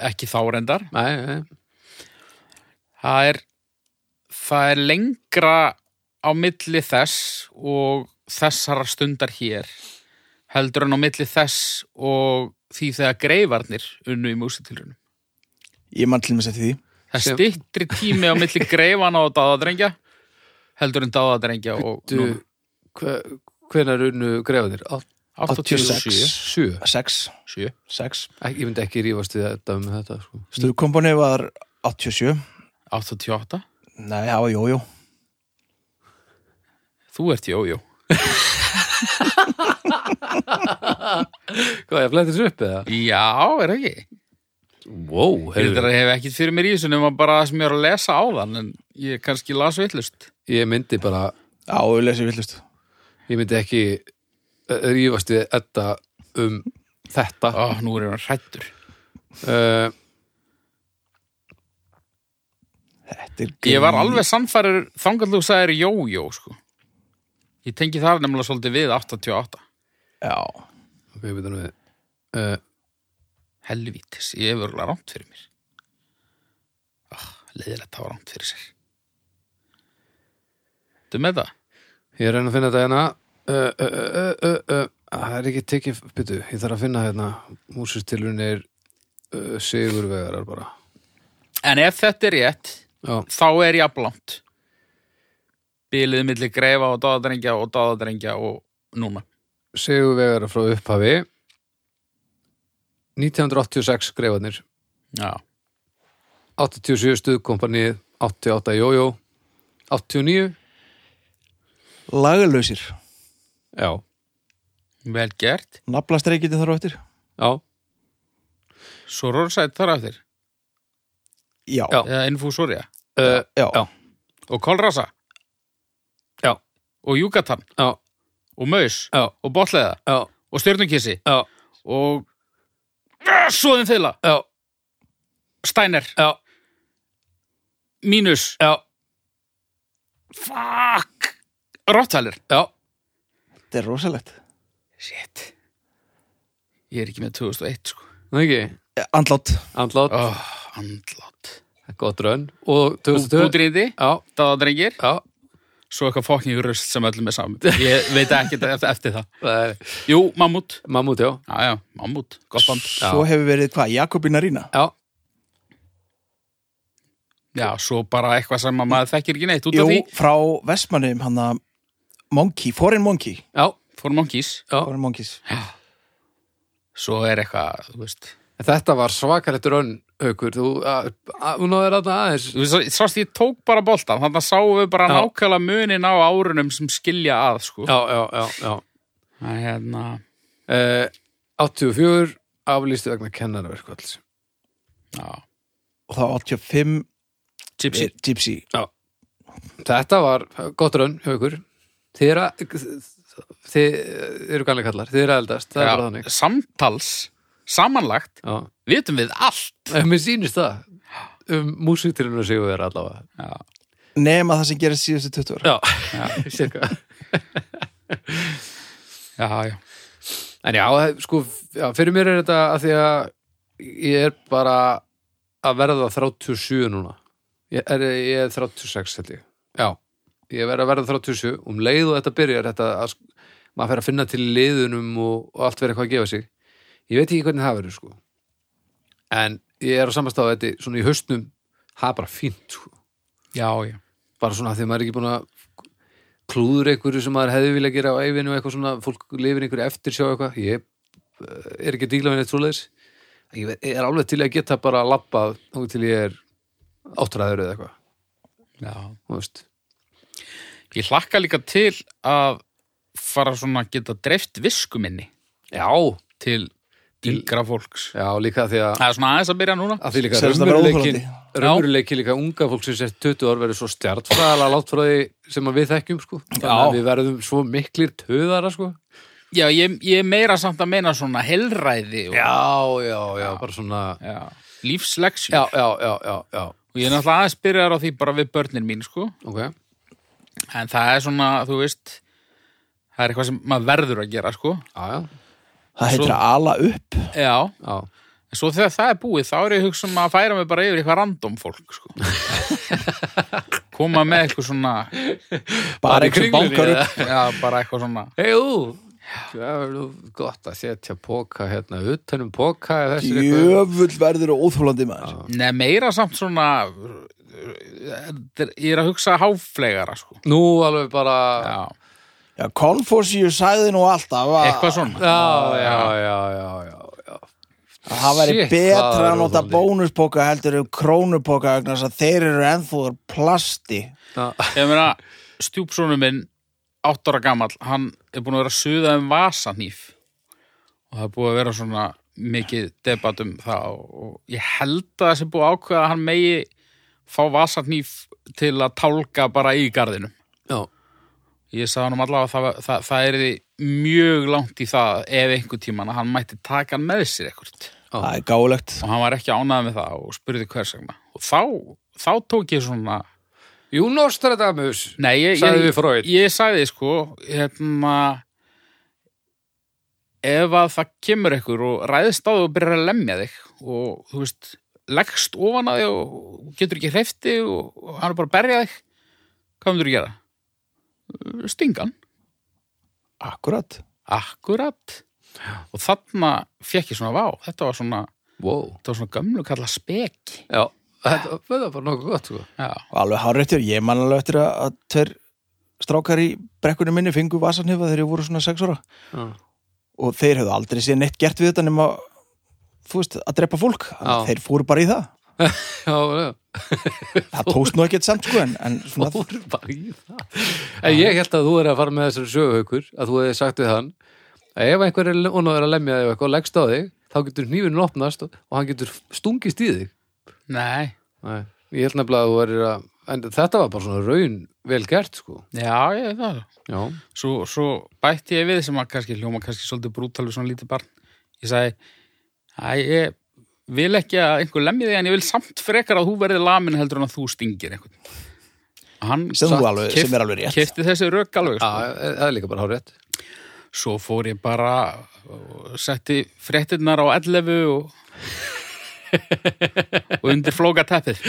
ekki þá reyndar, Nei, nei, það er það er lengra á milli þess og þessara stundar hér heldur en á milli þess og því þegar greifarnir unnu í músitilrunum. Ég mann til mér setti því Það Sem- er styttri tími á milli greifana og dáðadrengja heldur en dáðadrengja og du, núna. hve, hvenær unnu greifanir? 87 87 6, 7. 6 Ég myndi ekki rífast við þetta um þetta sko. Stöðukompani var 87 88 Nei, já, jú, jú Þú ert jójó. Hvað, ég flætti þessu upp eða? Já, er það ekki? Wow, Þetta heyrðu, hef ekkit fyrir mér í þessu nema bara það sem ég er að lesa á þann en ég kannski las veitlust. ég myndi bara Já, við lesið villust ég myndi ekki eh, rífast við þetta um þetta Ó, nú er ég hrættur. uh, Þetta er Ég var grín. alveg sannfærir þangar þú sagðir jójó sko. Ég tengi það nefnilega svolítið við 88 Já, ok, við við uh, Helvítis, ég hefur alveg rámt fyrir mér ah, Leðilegt það var rámt fyrir sér Þú með það? ég er að reyna að finna þetta hérna uh, uh, uh, uh, uh, það er ekki tekið byttu, ég þarf að finna hérna músistilunir uh, sigurvegarar bara En ef þetta er rétt, já, þá er ég aflant Bilið milli greifa og dáðadrengja og dáðadrengja og núna sigurvegarar frá upphafi 1986 greifarnir Já, 87 stuðkompanið 88 jójó 89 lagalösir já, vel gert Naflastreikitin þar á eftir já, Svo rórsætt þar aftur Já, Já. Eða infúsúrja uh, já, Já. Og kolrasa Já. Og júkatan já, og maus já, og botleða já og stjörnukissi já, og svoðin þeila, já, Steiner já, mínus, já, fuck Rottalir já þetta er rosalegt Shit Ég er ekki með 2001 sko Nú ekki, Eh, Andlát, andlátt, oh, Andlátt gott raun og 2002 Bútriði, Já, dáðadrengir já, Svo eitthvað fokking rusl sem öllum er saman Ég veit ekki eftir, eftir það það er Jú, mammút, mammút, já já já, mammút, gott band svo hefur verið hvað, Jakobina Rína Já, Já, svo bara eitthvað sem að maður þekkir ekki neitt út af Jú, því frá Vestmannum hann að Monkey, Foreign Monkey já, Fór monkís, já Foreign Monkeys svo er eitthvað, þú veist Þetta var svakalegt raun, aukur Þú, að- að- þú náður þetta aðeins Þú veist, sást ég tók bara boltan þannig að sáum við bara Já. nákvæmlega munin á árunum sem skilja að sko Já, já, já, já að hérna, uh, 84 aflýstu vegna kennaraverkvalls já, og þá 85 gypsy eh, Gypsy Þetta var gott raun, aukur Þið eru að Þið eru kannlega kallar, þið eru að eldast Það er bara já, þannig samtals, samanlagt Já, vitum við allt Eh, mér sýnist það um músiktilinu að segja vera allavega já, nema það sem gerist síðustu 20 ára Já, cirka já, já, En já, það- sko, já, fyrir mér er þetta að því að ég er bara að verða 37 núna Ég er, ég er 36 held ég Já, ég verð að verða 37 um leið og þetta byrjar þetta að sk- maður fer að finna til í liðunum og, og allt verið eitthvað að gefa sig Ég veit ekki hvernig það verður sko En ég er á samastáð þetta svona í haustnum það er bara fínt sko já, já. bara svona af því að maður er ekki búin að klúður einhverju sem maður hefði vilja gera á æfinu og eitthvað svona, fólk lifir einhverju eftir sjá eitthvað ég eh, er ekki að díla við neitt svoleiðis ég ve- er alveg til að geta bara að labba og til ég er áttræður eða eitthvað Já. þú veist. Ég hlakka líka til að fara svona að geta dreift viskuminni já, til yngra fólks. já, líka því að Það er svona aðeins að byrja núna. að því líka Segðist það bara raunveruleikin óþolandi. raunveruleikin líka unga fólksins er 20 ár verið svo stjartfræðala látt frá því sem að við þekkjum sko þannig að Já. við verðum svo miklir töðara sko Já, ég, ég er meira samt að meina svona helræði og já, já, já, bara svona já, lífsleksjur. já, já, já, já, já, Og ég er náttúrulega aðeins byrjar á því bara við börnin mín, sko. ok já, En það er svona, þú veist, það er eitthvað sem maður verður að gera, sko. já, Það heitir að ala upp Já. já, En svo þegar það er búið, þá er ég hugsa um að færa mig bara yfir í eitthvað random fólk, sko. Koma með eitthvað svona, Bara í Bara einhver Kringlunni, bankar eða? upp já, bara eitthvað svona. hei, ú það er nú gott að setja póka hérna, utanum póka eða þessi eitthvað Jöfull verður óþólandi maður Nei, meira samt svona, eh, ég er að hugsa háflegara, sko. nú alveg bara já, Já, Já, Confucius sagði nú alltaf að eitthvað svona. já, já, já, já, já. að það væri Shit, það betra er að nota óþolandi. bónuspoka heldur um krónupoka vegna þess að þeir eru ennþúr plasti Já, Ég meina, stjúpsónu minn, átt ára gamall, hann er búin að vera að suða um vasanýf. Og það er búið að vera svona mikið debat um það og og ég held að það sé búið að ákveða að hann megi fá vasanýf til að tálka bara í garðinum. já, Ég sagði hann um allavega að það, það, það er mjög langt í það ef einhver tíman að hann mætti taka hann með sér ekkert það er gálegt og hann var ekki ánægð með það og spurði hvers vegna og þá, þá tók ég svona Jú, Nostradamus Nei, ég, Sagði ég, við Freud. ég sagði sko hérna ef að það kemur ekkur og ræðist á þig og byrjar að lemja þig og þú veist, leggst ofan að þig og getur ekki hrefti og, og hann er bara að berja þig hvað myndur þú gera? Stingan Akkurat Akkurat. Og þarna fekk ég svona vá, þetta var svona, wow, þetta var svona gömlu kalla speki. já, þetta þetta var nokkuð gott sko Já, og alveg háréttir, ég man alveg eftir að, að tver strákar í brekkunum minni fengu vasanhifa þegar ég voru svona sex ára já. og þeir höfðu aldrei séð neitt gert við þetta nema þú veist, að drepa fólk Já. þeir fóru bara í það, Já, já, það tókst nú ekkert samt sko en, en svona, fóru bara í það En ég held að þú er að fara með þessar söguhaukur að þú hefði sagt við hann að ef einhver er onað er að lemja þig og eitthvað og leggst á þig, þá getur hnífinu opnast og, og hann getur stungist í þig nei, Nei. Ég held nefnilega að þú verir að en þetta var bara svona raun vel gert sko já, ég það. Já, Svo, svo bætti ég við sem að kannski hljóma kannski svolítið brútal við svona lítið barn. Ég sagði, að ég vil ekki að einhver lemja þig en ég vil samt frekar að þú verði lamin heldur en að þú stingir einhvern. Og Hann sem, satt- þú alveg, sem er alveg rétt keypti þessi rök alveg. sko. Já, e, það er líka bara hár rétt Svo fór ég bara og setti fréttinnar á 11 og, og undir flóka teppið.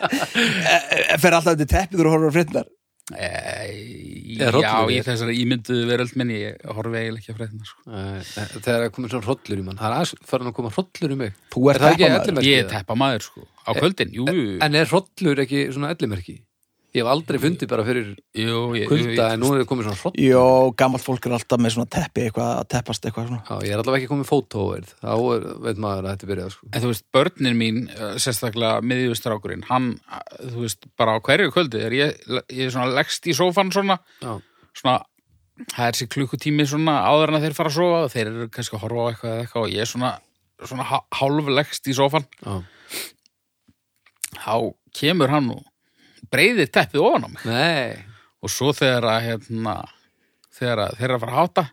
fer alltaf undir teppið og horfður á fréttinar E, Eða já, hrollur í þér? þessari ímynduðu veröld minni, ég horfi eiginlega ekki að fréttinnar. Sko. Nei, E, Þegar það komið svona hrollur í mann það er aðeins farin að koma hrollur í mig þú Er ert það ekki teppamaður ellimerki? Ég er teppa maður, sko, á kvöldin. Jú, jú, jú, En er hrollur ekki svona ellimerki? Ég hef aldrei fundið bara fyrir jú, ég- jú, kulda en ég- nú er það komið svona hrollur Jó, gammalt fólk er alltaf með svona teppi eitthvað að teppast eitthvað svona Já, ég er allavega ekki komið fótóverð þá er, veit maður að þetta byrjaði sko. En þú veist, börnin mín, eh, sérstaklega miðjústrákurinn, hann, eh, þú veist, bara á hverju kvöldu, er ég, ég svona leggst í sófan svona, Já, svona það er sér klukkutími svona áður en að þeir fara að sofa og þeir eru kannski að horfa á eitthvað eða eitthvað og ég er svona, svona há- hálflegst í sofan já. þá kemur hann og breyðir teppið ofan á mig Nei, og svo þegar að hérna, þegar að þeir eru að fara að háta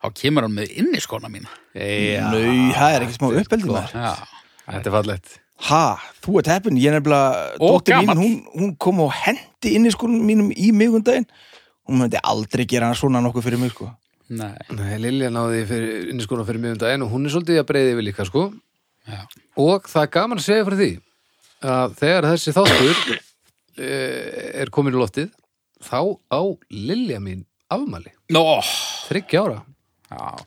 þá kemur hann með inniskona mína já. Nau, það er ekki smá uppeldið maður Já, sko- Þetta er fallegt Ha, þú ert heppin, ég er nefnilega Og dóttir mín, gamall. hún, hún kom og hendi inn í skonum mínum í mig um daginn hún myndi aldrei gera hann svona nokkuð fyrir mig sko. nei, Nei, Lilja náði fyrir inniskona fyrir mjög um daginn og hún er svolítið að breyði yfir líka sko. já, og það er gaman að segja frá því að þegar þessi þáttur eh, er komin í loftið þá á Lilja mín afmæli, Nó, þriggja ára já.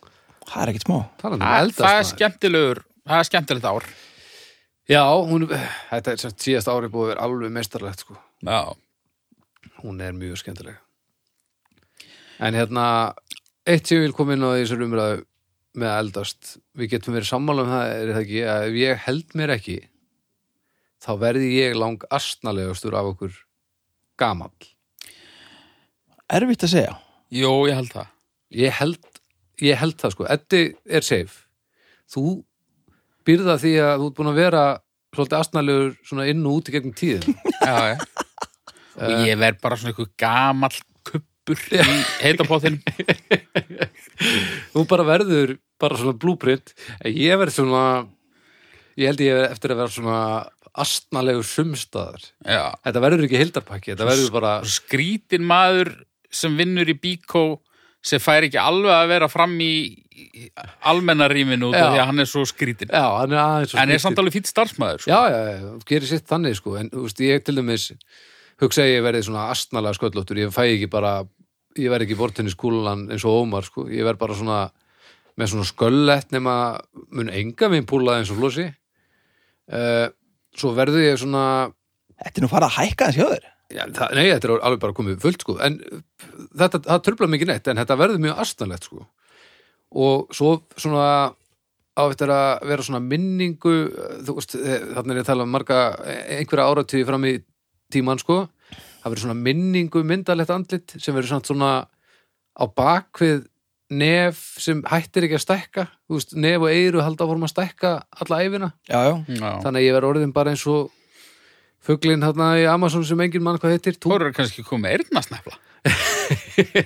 það er ekkert smá Talandi um Ah, Það, eldast það er maður. skemmtilegur það er skemmtilegt ár Já, hún, þetta er sem sagt síðast ári búið að vera alveg mestarlegt sko. já. hún er mjög skemmtileg en hérna eitt sem ég vil koma inn á í þessar umræðu með að eldast við getum verið sammála um það er það ekki að ef ég held mér ekki þá verði ég lang astnalegastur af okkur gamall Erfitt að segja Jó, ég held það. ég held, ég held það sko Eddi er safe þú byrða því að þú ert búin að vera svolítið astnalegur svona inn og út í gegnum tíðin Já, já. Og ég verð bara svona einhver gamall kuppur í heitapóðin. þú bara verður bara svona blúprint en ég verð svona ég held ég eftir að vera svona astnalegur sumstaðar Já. þetta verður ekki hildarpakki, þetta verður bara Og skrítin maður sem vinnur í bíkó sem fær ekki alveg að vera fram í í almennarýminu út af Já. því að hann er svo skrítin. já, hann er aðeins svo En er skrítinn. samt alveg sko. fýtt starfsmæður. já, já, já, þú gerir sitt þannig sko en þú veist, ég til dæmis hugsa að ég verði svona astnalega sköllóttur ég fæ ekki bara, ég verði ekki bortinniskúlan eins og Ómar sko, ég verð bara svona með svona sköllett nema mun enga minn púlað eins og flósi uh, svo verður ég svona Þetta er nú fara að hækka hans hjá þér já, það, nei, þetta er alveg bara komið fullt sko en þetta, það tröfla mikið neitt en þetta verður mjög astnalegt sko og svo svona á eftir að vera svona minningu þú veist, þannig er ég að tala um marga einhverja áratíði fram í tímann sko, það verður svona minningu myndalegt andlit sem verður samt svona á bakvið nef sem hættir ekki að stækka þú veist, nef og eyru halda áfórum að stækka alla æfina Já, já, já. þannig að ég verð orðin bara eins og fuglinn hérna í Amazon sem engin mann hvað heitir Þú tú... eru kannski komið með erðnasnefla.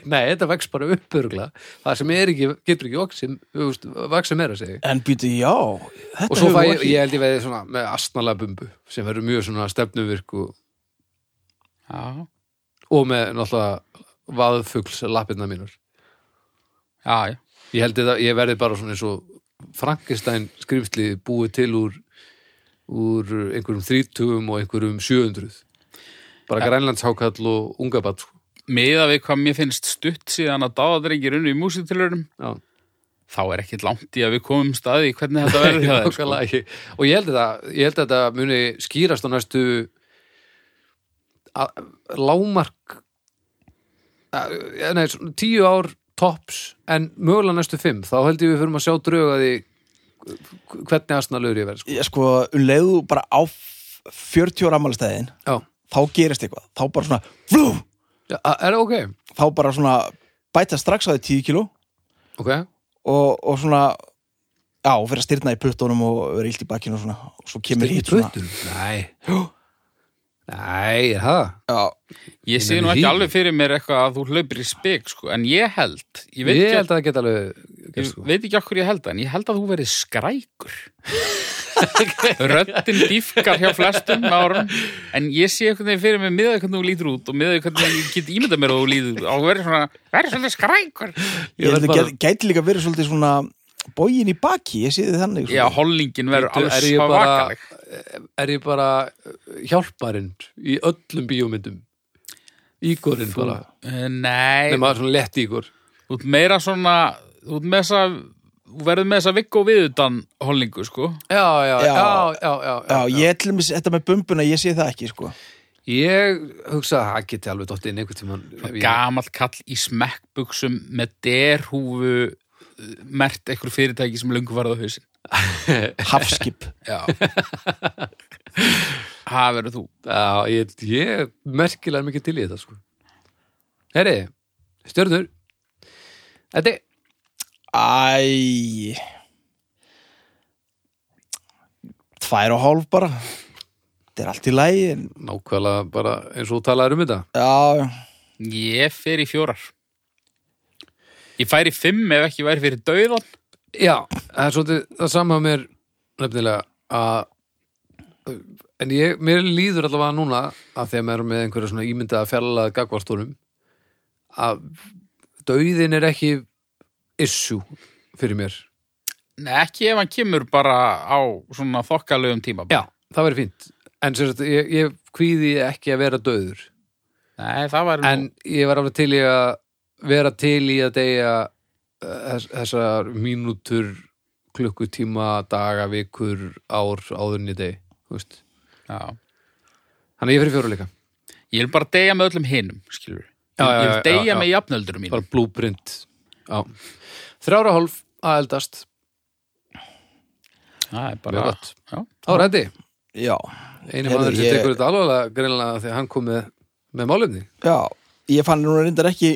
Nei, þetta vex bara uppurgla það sem er ekki, getur ekki okkur sem þú veist, vaksa meira segi en býtu já Þetta og svo hefur fæ nú ég, ekki- ég held ég veði svona með astnalega bumbu sem verður mjög svona stefnuvirk og, Já. og með náttúrulega vaðfugls lappirna mínur Já, já. ég held þetta, ég verði bara svona eins og Frankenstein skrifsli búið til úr úr einhverjum þrítugum og einhverjum sjöundruð bara grænlandshákall og ungabat sko. Miða við hvað mér finnst stutt síðan að dáðadrengir unni í músitilurinn, já þá er ekkit langt í að við komum staði hvernig þetta verður hjá þeim. sko. Nákvæmlega ekki. og ég held, þetta, ég held að þetta muni skýrast á næstu að, lámark að, nei, svona tíu ár tops en mögulega næstu fimm þá held ég við fyrir að sjá drög að því hvernig aðsnaður ég verð sko. Ég sko, um leiðu bara á f- 40 ára ammálstæðin já, þá gerist eitthvað, þá bara svona flú, Já, a- er ok, þá bara svona bæta strax á því 10 kíló ok og, og svona já, og fyrir að styrna í puttunum og vera illt í bakkinu og svona, og svo kemur hitt svona Styrkir puttunum? nei nei, er það Já, Ég sé nenni nú ekki því. alveg fyrir mér eitthvað að þú hlaupir í spik, sko, en ég held, ég ég, veit, ekki, held að það geta alveg ég gerst, sko. veit ekki okkur ég held það, en ég held að þú verið skrækur. Röddin dýfkar hjá flestum með árum, en ég sé einhvern veginn fyrir mér miðað hvernig þú lítur út og miðað hvernig ég get ímyndað mér að þú lítur út og verið svona, verið svona skrækur. Ég ég verð held bara- að gæti, gæti líka verið svolítið svona bógin í baki, ég sé þið þannig sko. Já, svona. hollingin verður Bíddu, alveg er ég svo bara- vakaleg. er ég bara eh, hjálparinn í öllum bíómyndum Ígorinn bara Eh, Nei, nema svona lett Ígor þú ert meira svona, þú ert með þessa, þú verður með þessa vikku og viðutan hollingu, sko. já, já, Já. já, já, já, Já, ég ætlum þetta með bumbuna, ég sé það ekki sko. Ég hugsa að það geti alveg dótt inn einhvern tímann ég, gamall kall í smekkbuksum með derhúfu uh, mert einhver fyrirtæki sem löngu varð á hausin Hafskip já það verður þú já, ég, ég merkilega mikið til í þetta sko. Heri, stjörnur Þetta er Æ Tvær og hálf bara Þetta er allt í lægi en... nákvæmlega bara eins og þú talaðir um þetta Já, já. ég fer í fjórar ég fær í fimm ef ekki væri fyrir dauðan Já, það er svolítið það sama á mér nefnilega að en ég, mér líður allavega núna að þegar maður er með einhverja svona ímyndaða fjarlæða gagvartónum að dauðin er ekki issue fyrir mér Nei, ekki ef hann kemur bara á svona þokkalegum tíma Já, það væri fínt en sem sagt, ég, ég kvíði ekki að vera dauður Nei, það var en ég var alveg til í að vera til í að deyja eh, þess, þessar mínútur klukkutíma, daga, vikur ár áðurinn í deg þú veist. já. þannig að ég fyrir fjóru líka ég vil bara deyja með öllum hinum skilur Já, já, ég vil já, deyja já, með jafnöldurum mínum bara blúprint já. þrjára hálf að eldast það er Mjög bara gott. já, Þá er Eddi, Já, einu Heyrðu, maður sem ég- tekur þetta alvarlega greinlega þegar hann kom með, með málefni já, ég fann núna reyndar ekki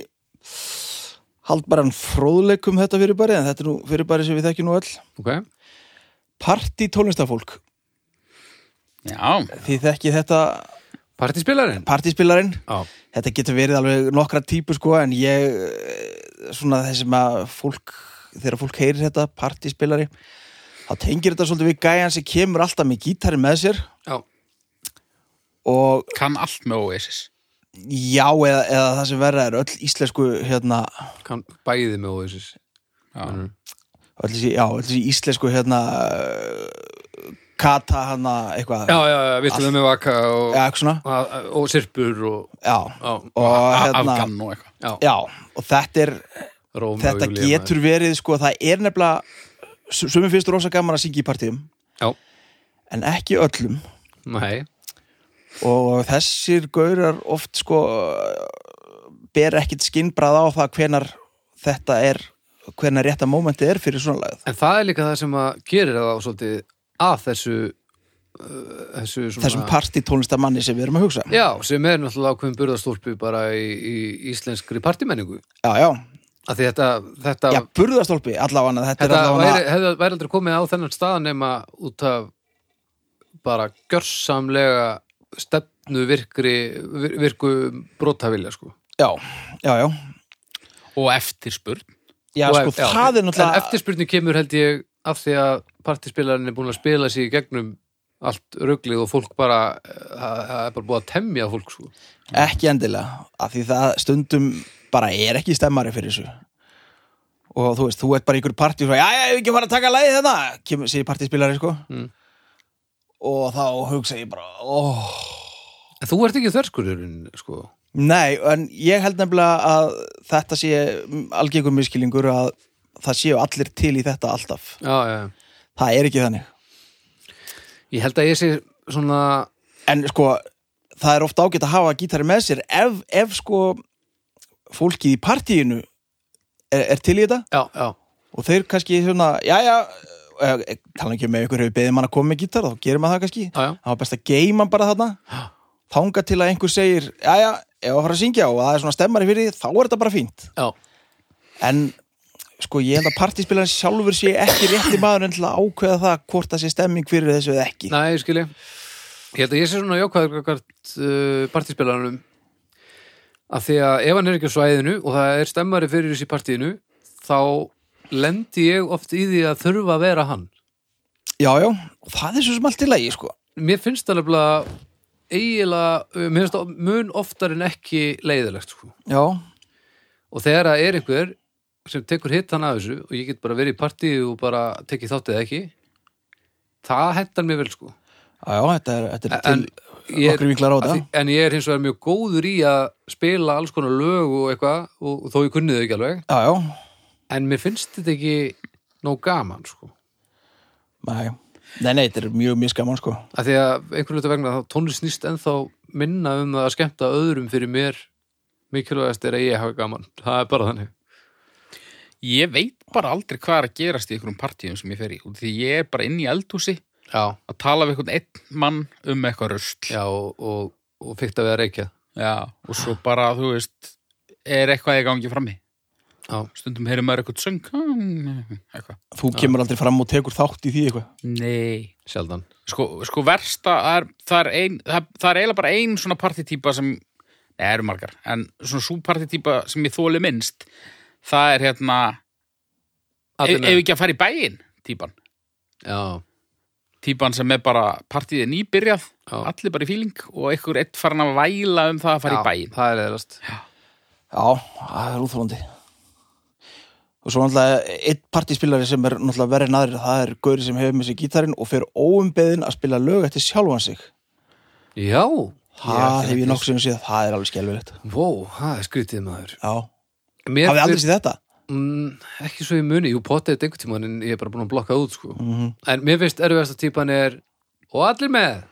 haldbæran fróðleikum þetta fyrirbæri en þetta er nú fyrirbæri sem við þekkjum nú öll okay. Parti tólestafólk, já, þið þekkið þetta Partispilarinn partispilarinn Já, þetta getur verið alveg nokkra típu sko en ég, eh, svona þessi maður fólk, þegar fólk heyrir þetta partíspilari, þá tengir þetta svolítið við gæjan sem kemur alltaf með gítarinn með sér já, og kann allt með Oasis já, eða, eða það sem verða er öll íslensku hérna, kann bæði með Oasis já, Mm. öll þessi, já, öll þessi íslensku hérna eh, kata hana eitthvað Já, já, já, viltu við með vaka og, Já, eitthvað svona, að, að- og sirpur og, já já, og hérna, afgan og eitthvað já, já, og þetta er Róma og þetta Júlía maður. getur verið sko, það er nefnilega sumum finnst rosa gaman að syngja í partíum Já. en ekki öllum Nei, og þessir gaurar oft sko ber ekkit skinnbrað á það hvenar þetta er hvenar rétta mómenti er fyrir svona lagað en það er líka það sem að gerir það svolítið að þessu uh, þessu svona þessum partítónlistamanni sem við erum að hugsa Já, sem er náttúrulega ákveðin burðarstólpi bara í, í íslenskri partimenningu já, já, að því þetta, þetta, já, burðastólpi allavega, þetta, þetta er allavega væri, hefði, væri aldrei komið á þennan stað nema út af bara gjörsamlega stefnu virkri vir- virku brotavilja sko já, já, já, og eftirspurn já Og sko, ef- já, það er náttúrulega En eftirspurning kemur held ég af því að partispilarinn er búin að spila sig í gegnum allt rugglið og fólk bara eh, það það er bara búið að temja fólk sko. ekki endilega af því það stundum bara er ekki stemmari fyrir þessu og þú veist, þú ert bara í ykkur partí og svo, já, já, ég ekki fara að taka lagið þetta kemur sér partíspilari, sko Mm. og þá hugsa ég bara óh, En þú ert ekki þverskurinn sko. nei, en ég held nefnilega að þetta sé algengur miskilingur að það séu allir til í þetta alltaf Já, já, já. það er ekki þannig Ég held að ég sé svona en sko, það er ofta ágætt að hafa gítari með sér ef, ef sko fólkið í partíinu er, er til í þetta Já, já, og þeir kannski svona, já já eh, tala ekki með ykkur hefur beðið mann að koma með gítar þá gerir maður það kannski, já, já, það var best að geima hann bara þarna, þanga til að einhver segir já já, ef að fara að syngja og það er svona stemmari fyrir því, þá er þetta bara fínt já. en sko ég held að partíspilarinn sjálfur sé ekki rétti maður en til að ákveða það hvort það sé stemming fyrir þessu eða ekki Nei, ég skilji Ég held að ég sé svona jákvæður kakart uh, partispilaranum að því að ef hann er ekki á svæðinu og það er stemmari fyrir þessi partíinu þá lendi ég oft í því að þurfa að vera hann já já, og það er svo sem allt í lagi sko mér finnst það nefnilega eiginlega, uh, mér finnst það mun oftar en ekki leiðilegt sko. já, og þegar það er einhver sem tekur hitt hann af þessu og ég get bara verið í partíu og bara tekið þátt eða ekki það hendar mér vel sko já, já þetta er, þetta er En- til ég- okkur vinklar á Af þetta því- en ég er hins vegar mjög góður í að spila alls konar lög og eitthvað og, og þó ég kunni þau ekki alveg já já, en mér finnst þetta ekki nóg gaman sko nei, nei, nei þetta er mjög miskaman sko af því að einhvern veit vegna þá tónlist snýst ennþá minna um það að skemmta öðrum fyrir mér mikilvægast er að ég hafa gaman það er bara þannig ég veit bara aldrei hvað er að gerast í einhverjum partíum sem ég fer í út af því ég er bara inn í eldhúsi já, að tala við einhvern einn mann um eitthvað rusl já og, og, og fyrst að vera reykja Já, og svo bara, þú veist, er eitthvað í gangi frammi. Já. Stundum heyrir maður eitthvað söng, hmm, eitthvað. þú kemur aldrei fram og tekur þátt í því eitthvað Nei. sjaldan Sko, sko versta, það er, það er, ein, það, það er eiginlega bara ein svona partitýpa sem, nei, eru margar, en svona svo partitýpa sem ég þóli minnst, það er hérna, E- ef Atvinnu- ef ekki að fara í bæinn, týpan. já, Týpan sem er bara, partíið er nýbyrjað, Já. allir bara í fíling og einhver eitt farin að væla um það að fara já, í bæinn. það er eðast Já, það er úþólandi Og svo náttúrulega eitt partíspilari sem er náttúrulega verið naðri það er gauri sem hefur með sér gítarinn og fer óumbeðin að spila lög eftir sjálfan sig já, Það hef ég nokkuð sem séð, það er alveg skelfilegt vó, það er skrítið maður Já, mér hafið aldrei finnst- séð þetta? Mm, ekki svo ég muni, jú potið þetta einhvern tímann en ég er bara búin að blokka það út sko Mhm. en mér finnst erfiðasta típan er og allir með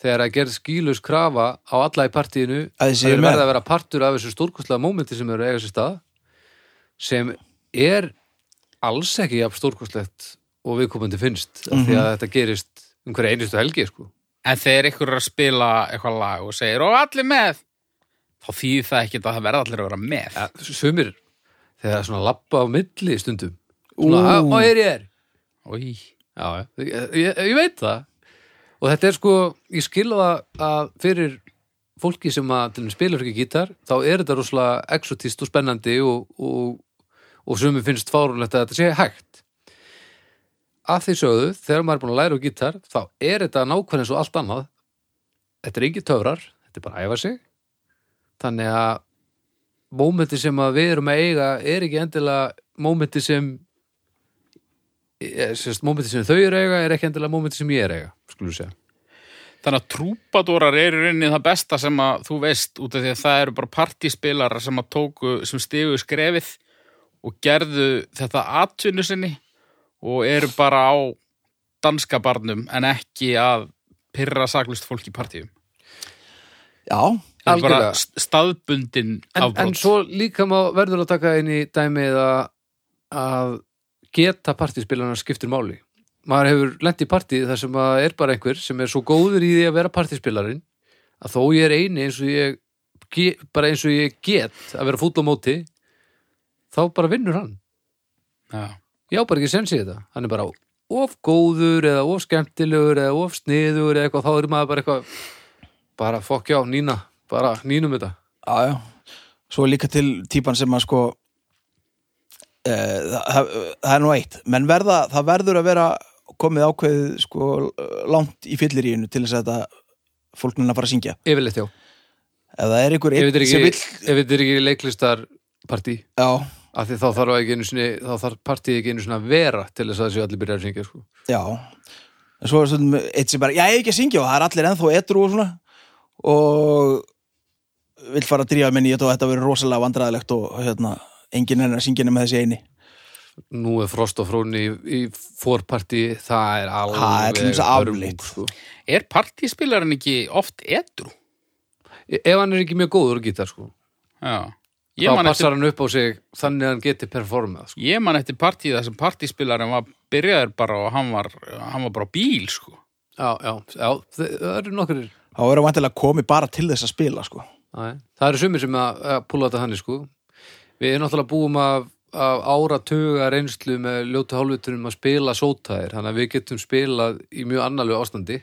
þegar að gerð skýlus krafa á alla í partíinu Að þið séu það er með. verið að vera partur af þessu stórkostlega mómenti sem eru að eiga sér stað sem er alls ekki jafn stórkostlegt og viðkomandi finnst af Mhm. því að þetta gerist um hverja einustu helgi sko. En þegar ykkur er að spila eitthvað lag og segir, og allir með, þá þýðir það ekkert að það verða allir að vera með. ja, sumir þegar svona lappa á milli stundum svona, Ú. og hér ég er Í, já, já. Ég, ég, ég veit það og þetta er sko, ég skilða það að fyrir fólki sem að til dæmis spilar ekki gítar, þá er þetta rosalega exotist og spennandi og, og, og sumir finnst fárunlegt að þetta sé hægt að því sögðu, þegar maður er búin að læra á gítar þá er þetta nákvæmlega eins og allt annað þetta er engin töfrar þetta er bara að æfa sig þannig að mómenti sem að við erum að eiga er ekki endilega mómenti sem sérst, mómenti sem þau eru að eiga er ekki endilega mómenti sem ég er að eiga, skulum við segja Þannig að trúpadórar eru í rauninni það besta sem að þú veist út af því að það eru bara partíspilarar sem að tóku, sem stigu skrefið og gerðu þetta atvinnu sinni og eru bara á danska barnum en ekki að pyrra saklust fólk í partíum. Já, Það er bara Algjörlega. st- staðbundin en, afbrot. en svo líka má verður að taka inn í dæmið að, að geta partíspilarna skiptir máli maður hefur lent í partíð þar sem að er bara einhver sem er svo góður í því að vera partíspilarinn að þó ég er eini eins og ég ge- bara eins og ég get að vera fúll á móti þá bara vinnur hann Já. ég á bara ekki sensið þetta hann er bara of góður eða of skemmtilegur eða of sniður eða eitthvað þá er maður bara eitthvað bara fokk já, nína, bara nínum þetta Já, já. Svo er líka til típan sem að sko e, það, það, það er nú eitt menn verða, það verður að vera komið ákveðið sko langt í fylliríinu til þess að þetta fólknuna fara að syngja. yfirleitt já, Ef það er einhver ef einn þetta er sem ekki, vill ef þetta er ekki leiklistarpartí Já, af því þá þarf ekki einu sinni þá þarf partíð ekki einu sinni að vera til þess að þessi allir byrja að syngja sko. já en svo er stundum eitt sem bara, já ég er ekki að syngja og það er allir ennþá etru og svona og vill fara að drífa minni í þetta og þetta verður rosalega vandræðilegt og hérna, enginn er að syngja nema þessi eini nú er Frost og Fróni í, í fórpartí það er alveg Það er til dæmis hörmung, afleitt. sko. Er partíspilarinn ekki oft edru? E, ef hann er ekki mjög góður að gítar sko, Já. Ég þá man, passar eftir, hann upp á sig þannig að hann geti performað sko. ég man eftir partíð þar sem partíspilarinn var byrjaður bara og hann var, hann var bara á bíl, sko. já, já, já, þe- það eru nokkur þá verður vantilega komið bara til þess að spila sko. Nei, það eru sumir sem að, að púla þetta hann sko. við erum náttúrulega búum af, af áratuga reynslu með ljótu hálfutunum að spila sótaðir þannig að við getum spilað í mjög annarlegu ástandi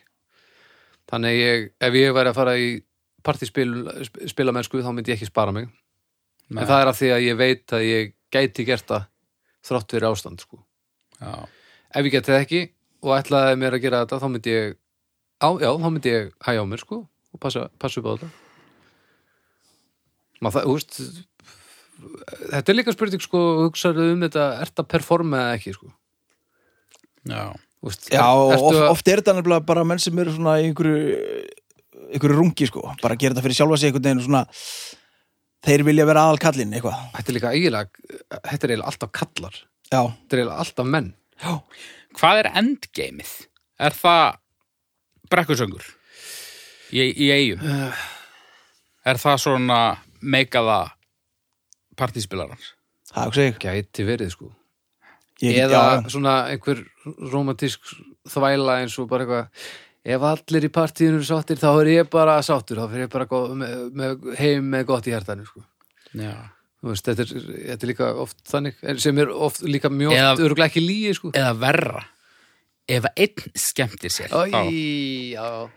þannig að ég, ef ég væri að fara í partíspila mennsku þá myndi ég ekki spara mig Nei. en það er af því að ég veit að ég gæti gert það þrátt fyrir ástand sko. Já. ef ég geti það ekki og ætlaði mér að gera þetta þá myndi ég, á, já, þá myndi ég hæja á mér sko og passa, passa upp á þetta maður það, úst þetta er líka spurning sko hugsaðu um þetta, ert að performa eða ekki sko Já. úst, Já, er, oft, ertu að- oft er þetta nefnilega bara menn sem eru svona í einhverju, einhverju rungi, sko. Bara að gera þetta fyrir sjálfa sig einhvern veginn og svona, þeir vilja vera aðal kallinn, eitthvað. þetta er líka eiginlega þetta er eiginlega alltaf kallar þetta Já, er eiginlega alltaf menn já, Hvað er endgameið? Er það brekkusöngur? Í, í eigum? Er það svona meikaða partíspilarans? það er okkur sig. gæti verið sko Ég, eða já, svona einhver romantísk þvæla eins og bara eitthvað ef allir í partíinu eru sáttir þá er ég bara sáttur, þá fyrir ég bara góð, með, með, heim með gott í hærtanu sko. Já. Þú veist, þetta, er, þetta er líka oft þannig en sem er oft líka mjög Eða- oft örgulega ekki líi sko. Eða verra? Ef að einn skemmtir sér? þá- Æ, já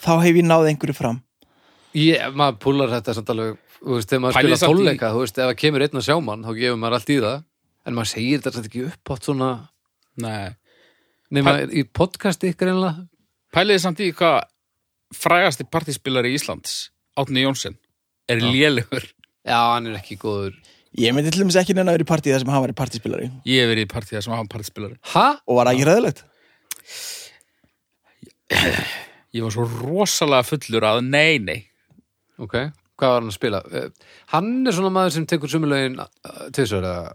þá hef ég náð einhverju fram. Ég, maður púlar þetta samt alveg þú veist, þegar maður Pælið spila samt í- tónleika þú veist, ef það kemur einn að sjá mann, þá gefur maður allt í það en maður segir þetta samt ekki upp átt svona Nei. nema í podcast ykkar einlega Pæliði samt í hvað frægasti partíspilari Íslands, Átni Jónsson, er lélugur. já, hann er ekki góður Ég myndi til dæmis ekki neina að vera í partíð þar sem hann var í partíspilari. Ég hef verið í partíða sem hafa partíspilari. ha? Og var það ekki ræðilegt? Ég var svo rosalega fullur að nei, nei. Ok, hvað var hann að spila? Eh, Hann er svona maður sem tekur eh, sumulögin tvisar eða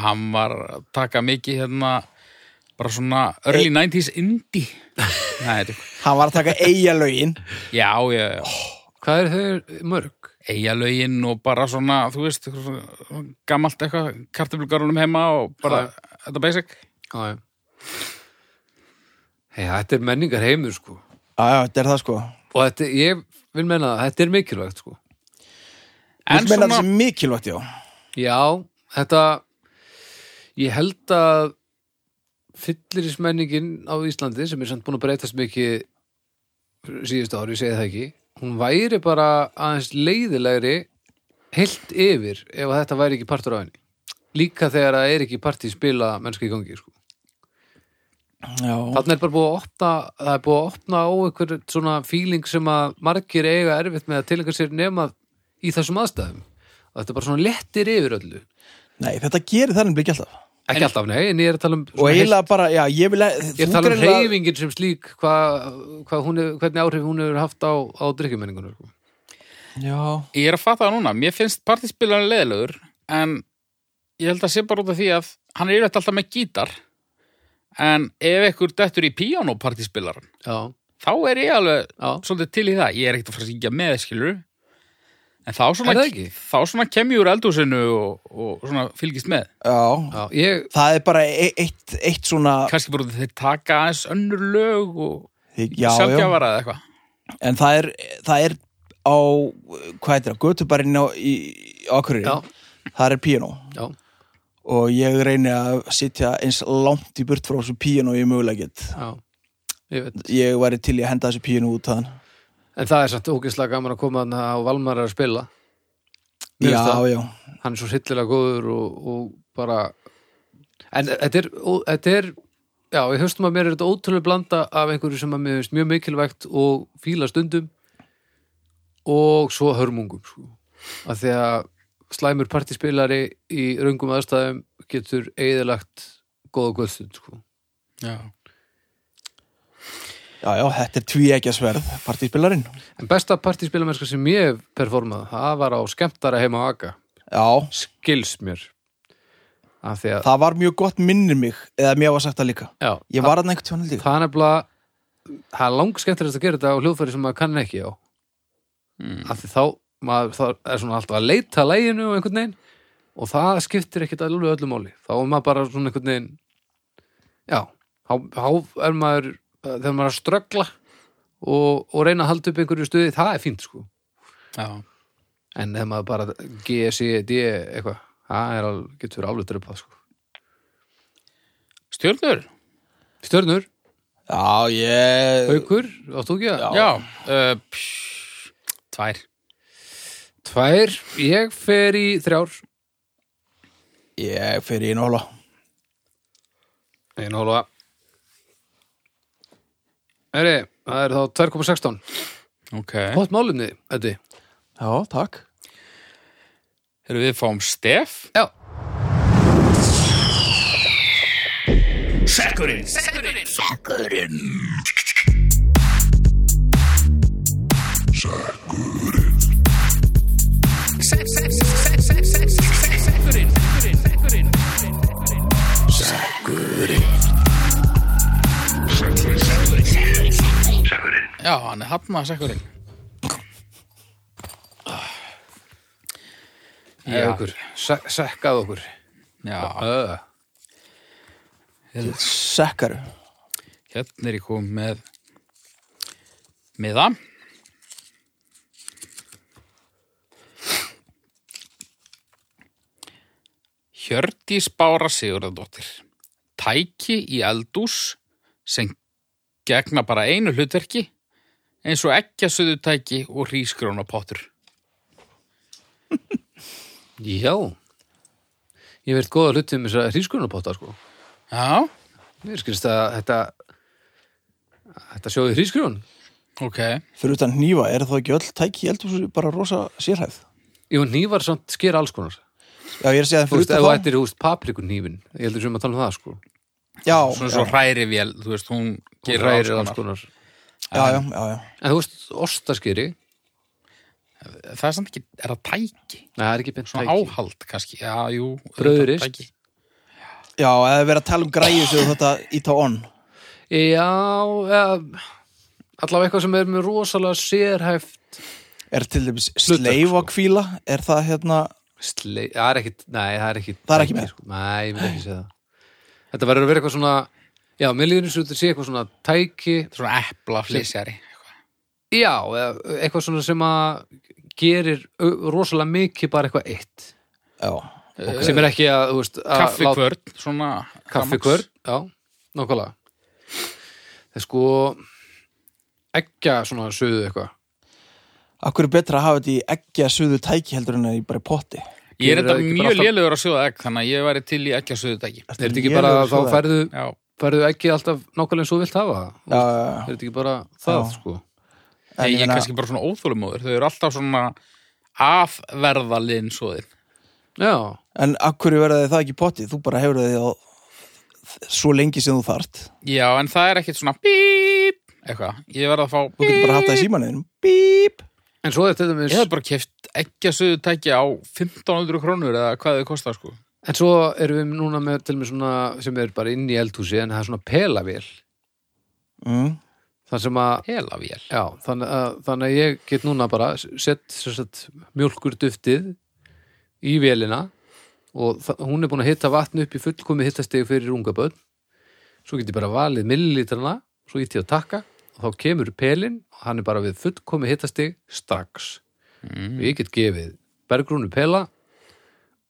Hann var að taka mikið hérna, bara svona early 90s indie. Nei, þetta er Hann var að taka eiga lögin. Já, já, já. hvað er þau mörg? Eyjalögin og bara svona, þú veist, eitthvað svona- gamalt eitthvað kartöflugarunum heima og bara þetta er basic Já, já. Hei, þetta er menningar heimur sko Já, já, þetta er það sko og þetta, ég vil menna það, þetta er mikilvægt sko En En meina svona, þessi mikilvægt, já Já, þetta ég held að fyllirismenningin á Íslandi sem er samt búin að breytast mikið síðustu ári, ég segi það ekki hún væri bara aðeins leiðilegri heilt yfir ef að þetta væri ekki partur á henni líka þegar það er ekki partí spila mennski í gangi sko. Já, þannig er bara búið að opna það er búið að opna á einhver svona feeling sem að margir eiga erfitt með að tilhengar sér nema í þessum aðstæðum og þetta er bara svona lettir yfir öllu nei, þetta gerir það nefnilega ekki alltaf ekki alltaf, nei, en ég er að tala um Og svona heilt- eiginlega bara, já, ég vil að ég er þú að tala um greinilega- reyfingin sem slík hvað hva hún hefur, hvernig áhrif hún hefur haft á, á sko. drikkjumenningunar Já, ég er að fatta það núna, mér finnst partíspilarinn leðilegur en ég held að sé bara út af því að hann er yfirleitt alltaf með gítar en ef ekkur dettur í píano partíspilaran já, þá er ég alveg já, svolítið til í það ég er ekkert að fara að syngja með skilur en þá Er svona, það ekki? þá svona kem ég úr eldhúsinu og, og svona fylgist með já já, ég Það er bara e- eitt, eitt svona kannski bara út af því að þeir taka aðeins önnur lög og já, já, sjálfgjafara eða eitthvað En það er, það er á, hvað heitir það, götubarinn á, í, á Akureyri Já. Það er píanó já, Og ég reyni að sitja eins langt í burt frá þessu píanó ég mögulega get já, ég veit Ég væri til í að henda þessu píanó út þaðan en það er satt ógeðslega gaman að koma hann á Valmar er að spila Mér Já, finnst það. já, hann er svo hillilega góður og, og bara en þetta er, ó- þetta er já, ég höfstum að mér er þetta ótrúlega blanda af einhverju sem að mér finnst mjög mikilvægt og fíla stundum og svo hörmungum sko. að því að slæmur partíspilari í raungum aðstæðum getur eigðilagt góða góðstund sko. já. já, já, þetta er tví ekki að sverð Partíspilarinn en besta partíspilamennska sem ég hef performað það var á skemmtara heima á Aga Já, skils mér að því að það var mjög gott minnir mig Eða mér var sagt það líka já, Ég var hann einhvern tjónan líka það er nefnilega það er langskemmtilegast að gera þetta á hljóðfæri sem maður kann ekki á Mm. af því þá, maður, þá er svona alltaf að leita að læginu og einhvern veginn og það skiptir ekkit alveg öllu máli þá er maður bara svona einhvern veginn já, þá, þá er maður þegar maður er að ströggla og, og reyna að halda upp einhverju stuði það er fínt sko, Já. en þegar maður bara G, C, D, E, eitthvað það er alveg, getur verið álið dröpa sko. stjörnur Stjörnur, Já, ég haukur, áttu ekki að já, uh, pff, tvær Tvær, ég fer í þrjár Ég fer í einu hóla Einu hálfa Heri, það er þá 2,16 ok, Hótt málumni, Eddi Já, takk erum við fáum Stef Já, Já, hann er hafnað sekkurinn ég okkur Se Sekkað okkur Já, uh. Sekkaru hérna er ég kom með miða Hjördís Bára Sigurðardóttir Tæki í eldús sem gegna bara einu hlutverki eins og ekkjasöðu tæki og hrískrónapottur Já Ég verið góða hluti um þess að hrískurunapóta sko Já, Mér skilst að þetta Þetta sjóði hrískurun ok Fyrir utan hnífa, er það ekki öll tæki í eldhúsu bara rosa sérhæð? Jú, nývar samt sker alls konar Já, ég er að segja það Þú fyrir veist, ef utan þú það ættir húst paprikunýfin Ég heldur sem að tala um það sko Já, Svona já, svo hræri vél, þú veist, hún Hún gerir hrærir sko. alls konar. konar já, já, já, já. En þú veist, ostaskeri það er samt ekki, er það tæki Nei, það er ekki beint svona tæki. áhald kannski, já, jú Brauðrist. auðvitað tæki. Já, eða verið að tala um græju sem þetta íta on Já, eða, allavega eitthvað sem er með rosalega sérhæft Er til dæmis sko. sleifakvíla Er það hérna slei, það er ekkit, nei, það er ekkit Það er ekki með. sko. Nei, ég myndi ekki segja það Þetta verður að vera eitthvað svona Já, mér líður eins og þetta sé eitthvað svona tæki svona epla flýsjari Já, eða eitthvað svona sem að gerir au- rosalega mikið bara eitthvað eitt já, sem er ekki að, þú veist að láta- kaffikvörn, svona Kaffikvörn, já, nákvæmlega Það er sko ekki svona söðu eitthvað akkur er betra að hafa þetta í ekki að suðu tæki heldur en að ég bara í potti Ég er Gerir þetta það ekki bara mjög alltaf- lélugur að sjóða egg þannig að ég væri til í ekki að sjóða dæki Er þetta ekki bara Lélegur þá sjóðaegg. færðu, Já, færðu ekki alltaf nákvæmlega eins og þú vilt hafa það? Þú Já, já, veist, já. Er þetta ekki bara það, Já. sko? ég, En ég ég er meina- kannski bara svona óþólumóður Þau eru alltaf svona afverðalinn svoðin Já, en akkur verða þið það ekki í potti þú bara hefur þið á svo lengi sem þú þart Já, en það er ekkit svona bíp eitthvað, ég verð að fá þú getur bara haft það í símaninum bíp en svo er þetta Ég með hef bara keft ekki að sjóða dæki á 1500 krónur eða hvað þau kostar sko En svo erum við núna með til með svona sem er bara inn í eldhúsi en það er svona pelavél mm. þann sem að, Hela vél já, þann, að þannig að ég get núna bara sett, sett mjólkur duftið í vélina og þa- hún er búin að hitta vatn upp í fullkomi hittastegu fyrir ungabönn svo get ég bara valið millilitrana svo ít ég að takka og þá kemur pelin og hann er bara við fullkomi hittasteg strax mm. ég get gefið bergrúnu pela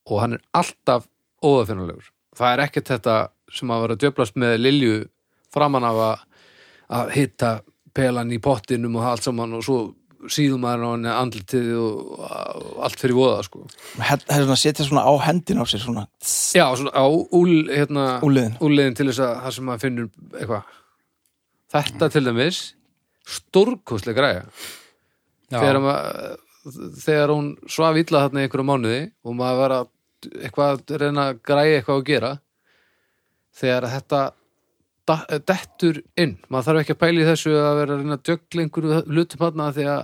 og hann er alltaf óðafinnalegur það er ekkert þetta sem að vera að djöflast með Lilju framan af að, að hitta pelan í pottinum og allt saman og svo síðum maður á henni andlitið og og allt fyrir voða sko. það er svona að setja svona á hendin á sér svona tss, já, svona á úl hérna, úliðin úliðin til þess að það sem maður finnur eitthvað þetta til dæmis stórkostlega græja þegar, maður, þegar hún svaf illa þarna í einhverju mánuði og maður var að eitthvað, að reyna að græja eitthvað að gera þegar þetta da- dettur inn maður þarf ekki að pæla í þessu að vera að reyna að djögla einhverju hlutum þarna því að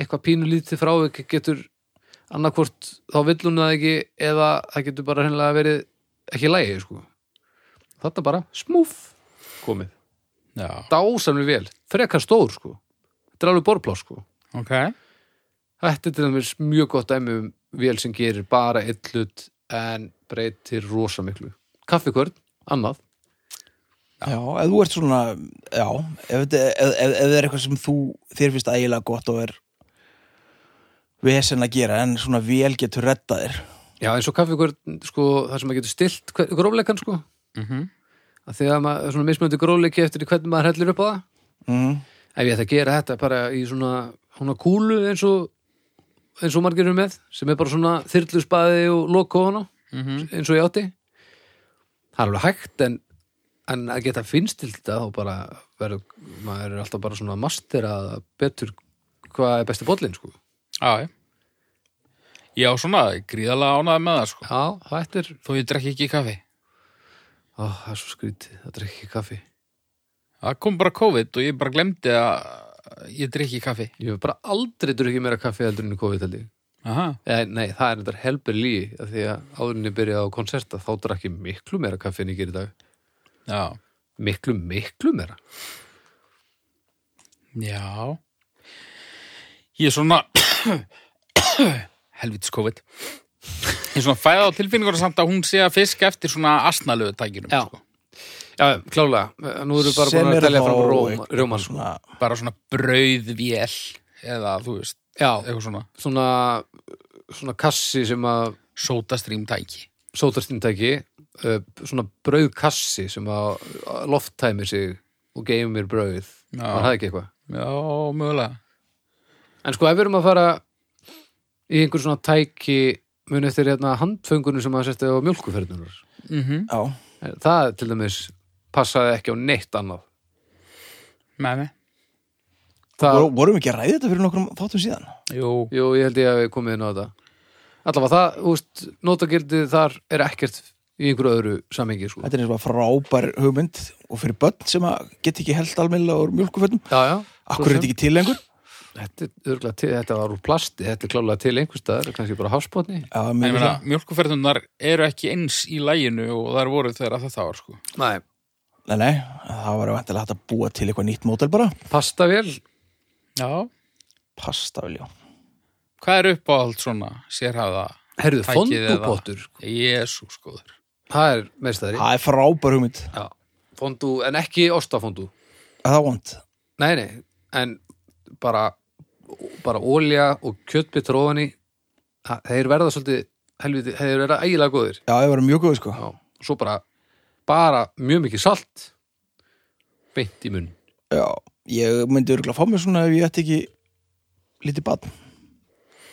eitthvað pínu lítið frávik getur annarkvort þá vill hún það ekki eða það getur bara hennilega verið ekki lægi sko. þetta bara smúf komið, Já, dásamlega vel frekar stór sko þetta er alveg borplás sko ok Þetta er til dæmis mjög gott dæmi um vél sem gerir bara eitt hlut en breytir rosa miklu. Kaffikvörn, annað. Já, ef þú ert svona, já, ef þetta ef, ef, ef það er eitthvað sem þú, þér finnst ægilega gott og er vesen að gera, en svona vel getur retta þér. Já, eins og kaffikvörn, sko, það sem maður getur stilt hver- grófleikann, sko. mm Að þegar maður er svona mismöndi grófleiki eftir því hvernig maður hellir upp á það. Mm. Ef ég ætti að gera þetta bara í svona, svona kúlu eins og, eins og margir eru með, sem er bara svona þyrlusbaði og loko hana, eins og ég átti. Það er alveg hægt, en, en að geta finnst til þetta, þá bara verður, maður er alltaf bara svona masterað betur hvað er besti bollin, sko. Já, já. Ég á svona gríðalega ánæði með það, sko. Já, þetta er Þó ég drekki ekki kaffi. Ó, það er svo skrítið, það er ekki kaffi Það kom bara COVID og ég bara glemdi að ég drekki kaffi. Ég hef bara aldrei drukkið meira kaffi heldur enn í COVID heldur Aha. Eða, nei, það er þetta helber líi af því að áðurinni byrjaði á konserta þá drakk ég miklu meira kaffi en ég gerir í dag Já. miklu, miklu meira Já. Ég er svona helvitis COVID. Ég er svona fæða á tilfinningur samt að hún sé að fiska eftir svona asnalöðu tækinum, Já. sko. Já, klálega, nú erum við bara búin að telja fram sko. róm, rjóman svona. svona, Bara svona brauðvél eða, þú veist, Já, eitthvað svona svona svona kassi sem að sótastrím tæki. sótarstýntæki uh, svona brauðkassi sem að að lofttæmir sig og geymir brauð Já. var það ekki eitthvað Já, mögulega. En sko, ef við erum að fara í einhver svona tæki mun eftir hérna handföngunum sem að setja á mjólkuferðunar. Mm -hmm. já, Það til dæmis passaði ekki á neitt annað. Með mig. Það, Vor- vorum við ekki að ræða þetta fyrir nokkrum þáttum síðan? Jú. jú, ég held ég að við komið inn á þetta. Allavega það, þú veist, notagildið þar er ekkert í einhverju öðru samengi, sko. Þetta er eins og að frábær hugmynd og fyrir börn sem að get ekki held almennilega úr mjölkuförnum. Já, já. Akkur er þetta ekki til lengur? Þetta, er örugglega til, þetta var úr plasti, þetta er klálega til einhvers staðar, kannski bara hafsbótni. Já, Ég mér meina, finnst mjölkuferðunar eru ekki eins í læginu og þær voru þegar þetta var, sko. Nei. það. Nei, nei, það var vantilega hægt að búa til eitthvað nýtt mótel bara. Pastavél, Já. Pasta, viljá. Hvað er uppáhald svona, sérhæða? herðu, Tækið eða- fondupottur. Jésús, góður. sko. það er meistari Það er frábær hugmynd fondú, en ekki ostafondú Það er vond nei, nei, en bara bara ólja og kjötbyttur ofan í það- þeir verða svolítið helviti, þeir verða ægilega góðir Já, ég var mjög góð sko Já, svo bara bara mjög mikið salt beint í munn Já, ég myndi örgulega fá mér svona ef ég ætti ekki lítið badn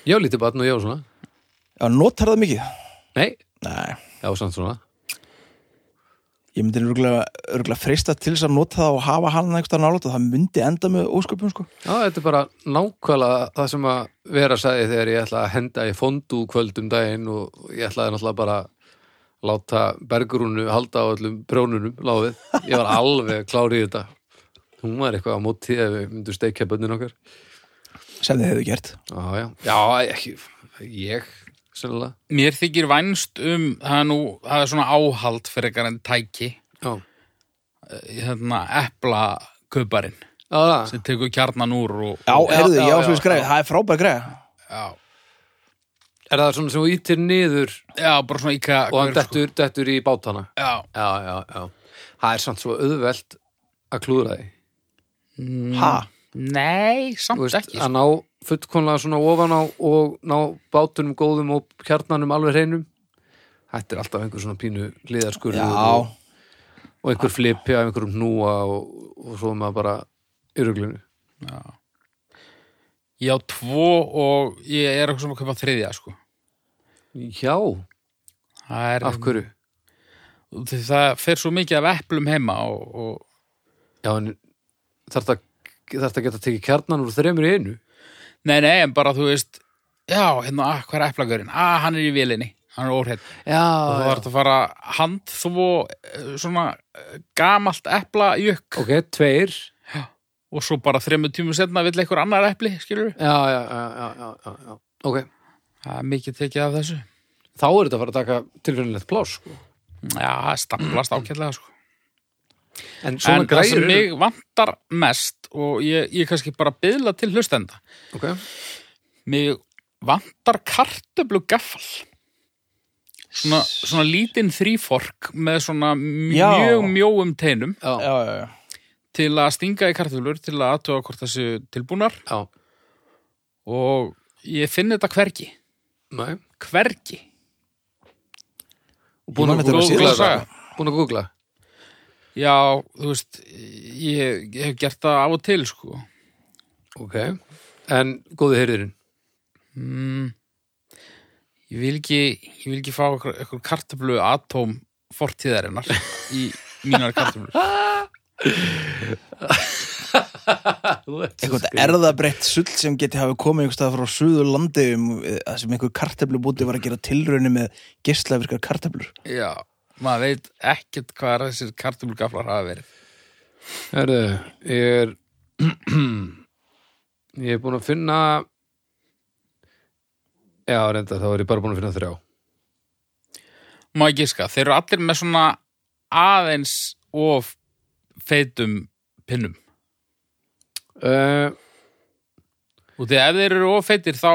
ég á lítið batn og ég á svona Já, notar það mikið nei, Nei, ég á samt svona ég myndi örgulega, örgulega freista til þess að nota það og hafa hann einhverstað nálægt og það myndi enda með ósköpum sko Já, þetta er bara nákvæmlega það sem að vera sagði þegar ég ætla að henda í fondu kvöldum daginn og ég ætlaði náttúrulega bara að láta bergrúnu halda á öllum prjónunum láfið. Ég var alveg klárið í þetta. Hún var eitthvað á móti ef við myndum steikja bönnin okkar. sem þið hefðu gert Já, já. Já, ekki, ég, sennilega. Mér þykir vænst um, það er nú, það er svona áhald fyrir eitthvað en tæki, Já, eh, hérna, epla kauparinn já það. sem tekur kjarnan úr og, Já, og heyrðu, já, já, já, já, svo skræði, það er frábær græði já, Er það svona sem þú ítir niður já, bara svona íka og hann dettur, dettur í bátana? Já, Já, já, já. Það er samt svo auðvelt að klúðra því. Ha, nei, samt Þú veist, ekki sko. að ná fullkonlega svona ofan á og ná bátunum góðum og kjarnanum alveg hreinum þetta er alltaf einhver svona pínu liðarskurður já, og, og einhver flipi af einhverjum hnúa og, og svo er maður bara í ruglunni Ég á tvo og ég er okkur sem að kaupa þriðja, sko já, Það er, af hverju því það fer svo mikið af eplum heima og, og já, en þarf það þarf það að geta tekið kjarnan úr þreymur í einu Nei, nei, en bara þú veist Já, hérna, ah, hvað er eplagurinn? Ah, hann er í vélinni, hann er óhreitt og Ah, þú já, þarf að fara handþvo eh, svona eh, gamalt epla jökk ok, tveir og svo bara þremur tímum setna vill einhver annar epli, skilur við já, já, já, já, já, já, já. ok, Það er mikið tekið af þessu þá er þetta að fara að taka tilfélilegt pláss sko. Já, það staflast ákjærlega sko en svona En það sem græjur mig vantar mest og ég, ég kannski bara byðla til hlustenda ok, Mig vantar kartöflu gaffal Svona, svona lítinn þrýfork með svona Já. mjög mjóum teinum já, já, já, já til að stinga í kartöflur til að aðtöga hvort þessu tilbúnar já og ég finn þetta hvergi nei hvergi Búin man að þetta googla var síðast. þetta? Búin að googla? já, þú veist ég, ég hef gert það af og til sko Ok. En góði heyrðurinn? mm, ég vil ekki ég vil ekki fá eitthvað, eitthvað kartöflu atóm fortíðarinnar í mínar kartöflur Eitthvað erðabreytt sull sem geti hafi komið einhverstað frá suður landi um að sem einhver kartöflubúti var að gera tilraunum með geislavirkar kartöflur já, maður veit ekkert hvað þessir kartöflugaflar hafa verið Herðu, ég er ég er búin að finna já, reynda, þá er ég bara búin að finna þrjá. má ég giska, þeir eru allir með svona aðeins of feitum pinnum Uh, og því ef þeir eru of feitir þá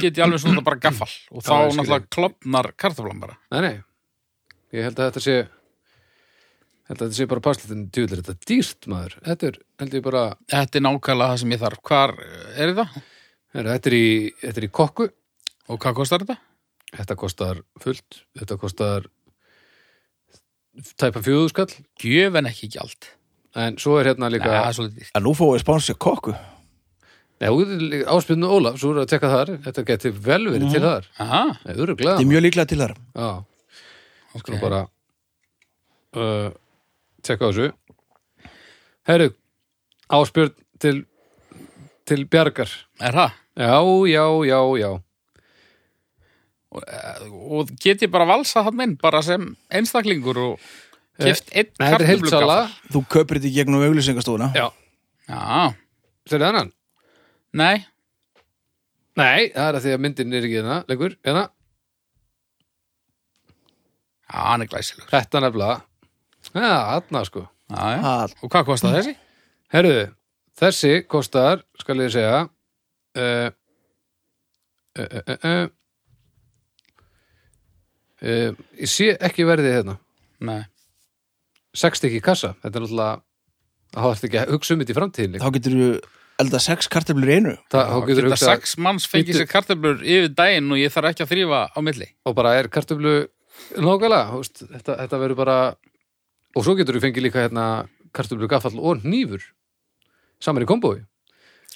get ég alveg svona bara gaffal og þá Já, ég skil náttúrulega klopnar kartaflan bara nei, nei. Ég held að þetta sé held að þetta sé bara passlítin djúlir þetta er dýrt, maður. Þetta er, held ég bara þetta er nákvæmlega það sem ég þarf hvar er þetta herðu, þetta, er í, þetta er í kokku og hvað kostar þetta? þetta kostar fullt þetta kostar tæpa fjóðuskall Gjöfen ekki gjald en svo er hérna Nei, líka það er svolítið dýrt. að nú fóðu spánsja kokku Nei, hún getur líka- áspyrnu Ólaf, svo er að tekka þar þetta geti vel verið til þar Aha, Nei, eru þetta er glæðan mjög líklega til þar Já, ok skulum bara uh, tekka á þessu Herru, áspyrn til, til bjargar er það? Já, já, já, já og get ég bara valsað hann inn bara sem einstaklingur og keft einn Nei, Eh, þetta er heilsala kartaflugaffal þú kaupir þetta í gegnum auglýsingastofuna Já, já, sér það annan? nei, Nei, það er að því að myndin er ekki hérna, lengur hérna, já, hann er glæsilegur Þetta nefnilega Já, þarna sko já, já. Ha, og hvað kostar þessi? Herru, þessi kostar, skal ég segja eh, uh, uh, uh, uh, uh, Ég eh, sé ekki verðið hérna nei, sex stykki í kassa, þetta er náttúrulega þá þarf ekki að hugsa um þetta í framtíðinni þá getur þú elda sex kartöflur í einu það, þá getur geta hugsa sex manns fengið Bíddu. sér kartöflur yfir daginn og ég þarf ekki að þrýfa á milli og bara er kartöflu nákvæmlega, þú veist, þetta, þetta verður bara og svo getur þú fengið líka hérna kartöflu gaffall og nýfur saman í kombói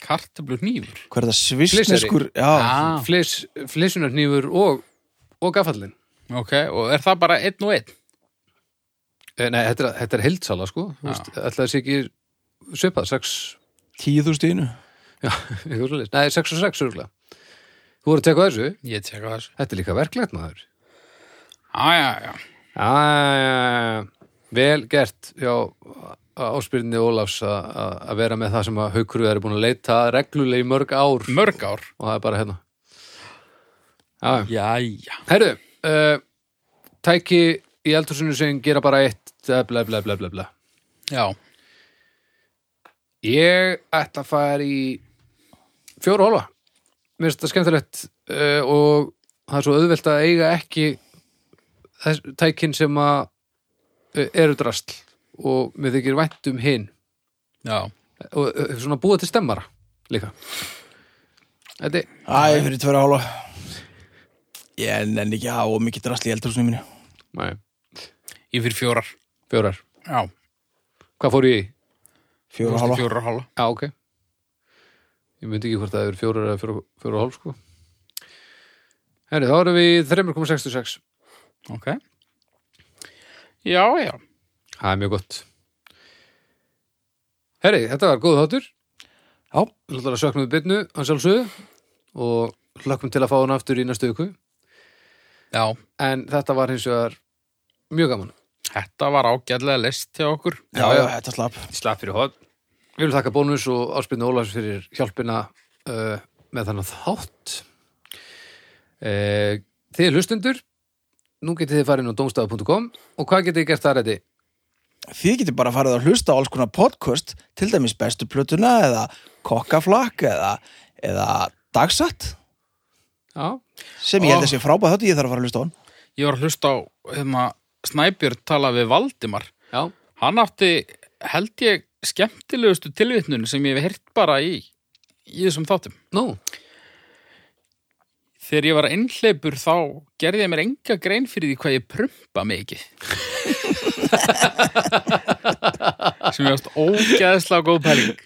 kartöflur nýfur hvað er það svisneskur já, ah, flesunar nýfur og, og gaffallin ok, og er það bara einn og einn Eh, Nei, þetta er, þetta er heildsala, sko Þú Já. veist, ætlaði þessi ekki svipað, sex tíu þúst í einu eitthvað svoleiðis. Nei, sex og sex, örgulega Þú voru að teka á þessu, ég tjekka þessu þetta er líka verklegt maður ah, já, já. Æ, vel gert hjá áspyrðinni Ólafs að- að að vera með það sem að haukruðar er búin að leita að reglulega í mörg ár mörg ár og það er bara hérna Já, já. Jæja. herru uh, tæki í eldhúsinu sem gera bara eitt eh, bla bla bla bla bla já, Ég ætla að fara í fjóra hálfa Mér finnst þetta skemmtilegt uh, og það er svo auðvelt að eiga ekki þess, tækin sem að uh, eru drasl og mér þykir vænt um hinn já, og uh, svona búa til stemmara líka Þetta er æ, fyrir tverja hálfa ég nenni ekki að hafa of mikið drasli í eldursunum mínu Nei, ég fyrir fjórar fjórar já, Hvað fór ég í? þú fjóra veist, hálfa fjórar og hálfa Já, ok Ég myndi ekki hvort það eru fjórar eða fjóra, fjóra og hálf sko Herri, þá erum við í 3,66 ok já, já, Það er mjög gott Herri, þetta var góð þáttur Já. Lóttar að söknum við byrnu, hans alveg og hlökkum til að fá hann aftur í næstu viku já en þetta var hins vegar mjög gaman þetta var ágætlega list hjá okkur já, já, þetta slapp Slapp fyrir hot Við viljum þakka bónus og áspilna Ólafs fyrir hjálpina uh, með þannig þátt uh, Þið hlustundur nú getið þið farin á domstafu.com og hvað getið þið gert þar þetta? þið getur bara farið að hlusta á alls konar podcast til dæmis bestu plötuna eða kokkaflakk eða, eða dagsatt Já, sem ég held Ó. að sé frábæð þáttu ég þarf að fara að hlusta á hann ég var að hlusta á hérna, Snæbjörn tala við Valdimar já, hann átti held ég skemmtilegustu tilvitnun sem ég hef heyrt bara í í þessum þáttum nú, þegar ég var einhleipur þá gerði ég mér enga grein fyrir því hvað ég prumpa mikið sem ég ást ógeðslega góð pæling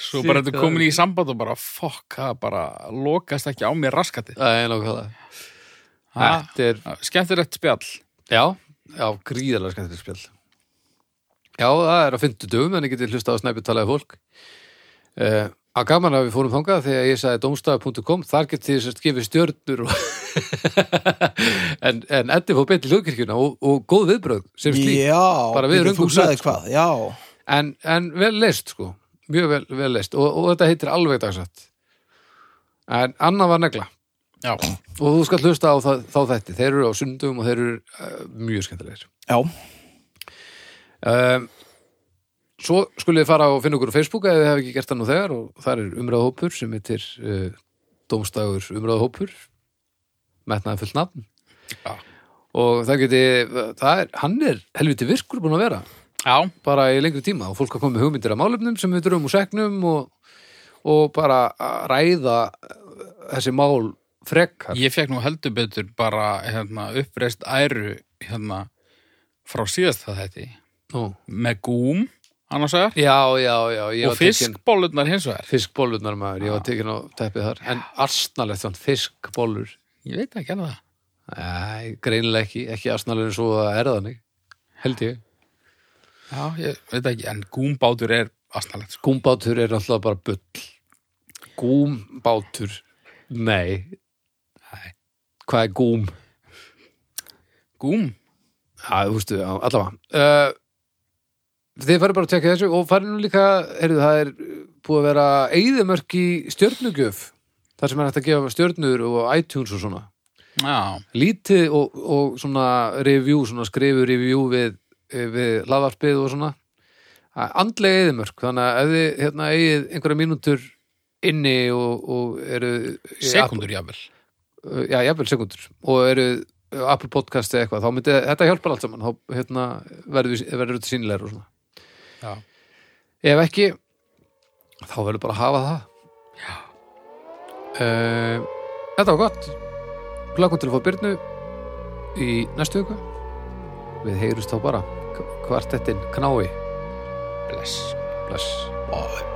svo bara þetta komin í samband og bara fokk, það bara lokast ekki á mér raskati það er nákvæmlega Ha? Þetta er, skemmtilegt spjall já, já, gríðalega skemmtileg spjall Já, það er á fyndu dögum en ég getið hlusta á snæpið talaði fólk uh, að gaman að við fórum þangað þegar ég sagði domstafu.com þar getið þið sérst gefið stjörnur og en, en endi fór beint í hlugkirkjuna og, og góð viðbröð sem slík já, Bara við Pétur, röngum þú blöð, sagði sko. hvað, já en, en vel leist sko mjög vel, vel leist og, og þetta heitir alveg dagsatt en Anna var negla já, og þú skal hlusta á það, þá þetta þeir eru á sundum og þeir eru uh, mjög skemmtilegir já, um, Svo skulle þið fara og finna okkur á Facebook eða þið hef ekki gert það nú þegar og þar er umræðahópur sem heitir uh, Dómstagur umræðahópur metnaði fullt nafn Já. og það geti það er, hann er helviti virkur búin að vera já, bara í lengri tíma og fólk að koma með hugmyndir af málefnum sem við dröfum úr segnum og, og bara að ræða eh, þessi mál frekar Ég fekk nú heldur betur bara hérna, uppreist æru hérna, frá síðast það þetta Nú. með gúm annars vegar Já, já, já ég og var tekinn- fiskbólurnar hins vegar fiskbólurnar maður, ég var tekin á teppið þar en arsnalegt þann fiskbólur Ég veit ekki alveg það Æ, greinilega ekki, ekki arsnalegt en svo að er það þannig, held ég Já, ég veit ekki, en gúmbátur er astanlegt sko. Gúmbátur er alltaf bara bull Gúmbátur Nei, Nei. Hvað er gúm? Gúm, Já, þú veistu, já, allavega uh, Þið farið bara að tekja þessu og farið nú líka, heyrðu, það er uh, búið að vera eyðumörk í stjörnugjöf þar sem er hægt að gefa stjörnur og iTunes og svona já, lítið og, og svona review, svona skrifu review við, við laðvarpið og svona andlega eðimörk, þannig að ef þið hérna, eigið einhverja mínútur inni og, og eru sekundur jafnvel já, jafnvel sekundur og eru Apple Podcast eða eitthvað, þá myndi þetta hjálpar allt saman, þá hérna, verður við- verður þetta sínilegur og svona. Já. Ef ekki, þá verður bara að hafa það. Já. þetta var gott. Lakum til að fá Byrnu í næstu viku. Við heyrjumst þá bara. Kvartettin knái. Bless. Bless. Ó,